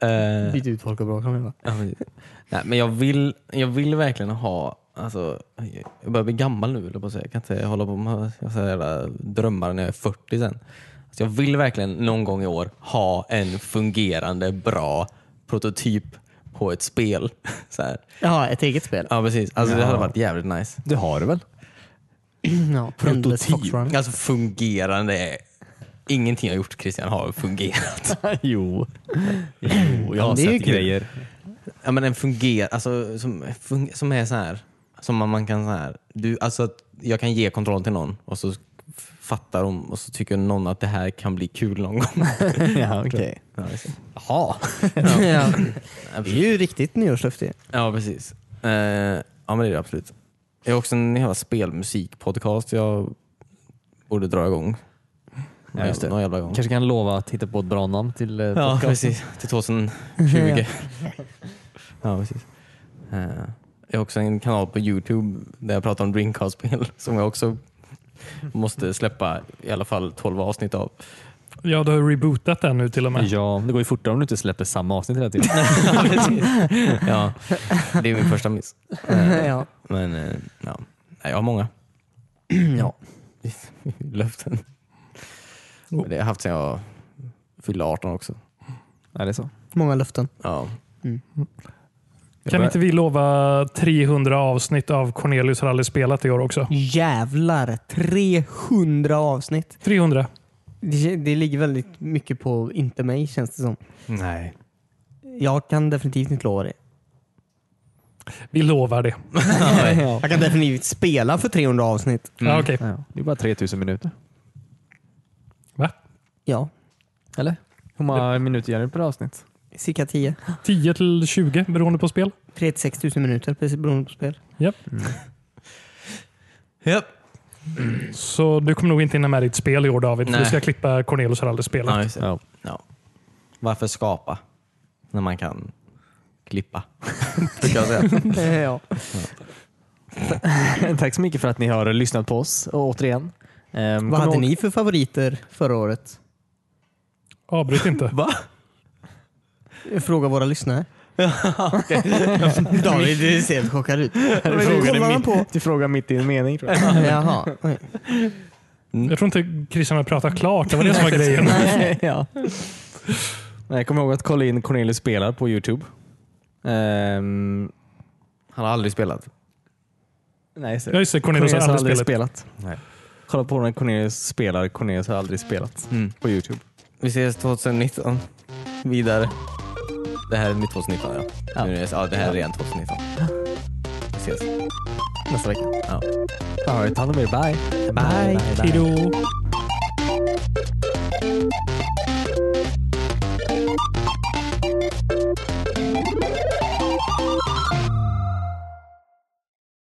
Eh, Byt ut folk och bråka med. va? ja, men- nej, men jag vill, jag vill verkligen ha, alltså, jag börjar bli gammal nu eller på att säga. Jag kan inte hålla på med sådana jävla drömmar när jag är 40 sen. Alltså jag vill verkligen någon gång i år ha en fungerande bra prototyp på ett spel. Så här. Ja, ett eget spel. Ja precis, alltså, det hade varit jävligt nice. Du har det väl? Ja, Endless Fox Prototyp, Run. alltså fungerande. är- Ingenting jag gjort Christian har fungerat. jo. jo. Jag har det är ju sett kul. grejer. Ja, men en fungerar, alltså, som, fun- som är så här. Som man, man kan så här. Du, alltså, att jag kan ge kontrollen till någon och så f- fattar de och så tycker någon att det här kan bli kul någon gång. ja, okej. Ja, precis. Jaha. ja. Ja, Det precis. är ju riktigt nyårslöfte. Ja, precis. Eh, ja, men det är det absolut. Jag har också en jävla spelmusikpodcast jag borde dra igång. Ja, just det. Någon jävla gång. Kanske kan lova att hitta på ett bra namn till eh, Ja, podcasten. precis. Till 2020. ja, precis. Eh, Jag har också en kanal på Youtube där jag pratar om Dreamcast-spel som jag också måste släppa i alla fall 12 avsnitt av. Ja, du har rebootat den nu till och med. Ja, det går ju fortare om du inte släpper samma avsnitt hela tiden. ja, precis. ja, det är min första miss. Eh, ja. Men eh, ja, Nej, jag har många ja. löften. Oh. Men Det har jag haft sedan jag fyllde 18 också. Är det så? Många löften. Ja. Kan inte vi lova 300 avsnitt av Cornelius har aldrig spelat i år också? Jävlar! 300 avsnitt. 300. Det, det ligger väldigt mycket på inte mig känns det som. Nej. Jag kan definitivt inte lova det. Vi lovar det. Jag kan definitivt spela för 300 avsnitt. Ja, okej. Ja. Det är bara 3000 minuter. Va? Ja, Eller? Hur många minuter gör du per avsnitt? cirka 10. 10 till 20 beroende på spel. 36 000 minuter precis beroende på spel. Japp. Japp. Så du kommer nog inte hinna med ditt spel i år David. för Nej. Du ska klippa Cornelius har aldrig spelat. Ja, just det. Ja. Ja. Varför skapa när man kan klippa? Brukar jag säga. Eh, ja. Tack så mycket för att ni har lyssnat på oss och återigen. ehm, Vad kom hade ihåg- ni för favoriter förra året? Avbryt inte. Va? Fråga våra lyssnare. David du ser helt chockad ut. Du Kollar frågade, han på? mitt, du frågade mitt i en mening tror jag. Jaha. Oj. Jag tror inte Christian har pratat klart. Det var det som var grejen. ja. Nej, kom ihåg att kolla in Cornelius spelar på Youtube. Ehm, Han har aldrig spelat. nej, Ja, just det. Cornelius har aldrig spelat. Nej. Kolla på när Cornelius spelar. Cornelius har aldrig spelat Mm. på Youtube. Vi ses 2019. Vidare. Det här är nytt 2019 ja. Ja. Nu är det, ja det här är redan 2019. Vi ses. Nästa vecka. Ja. Alright, ta hand om er. Bye. Hej då.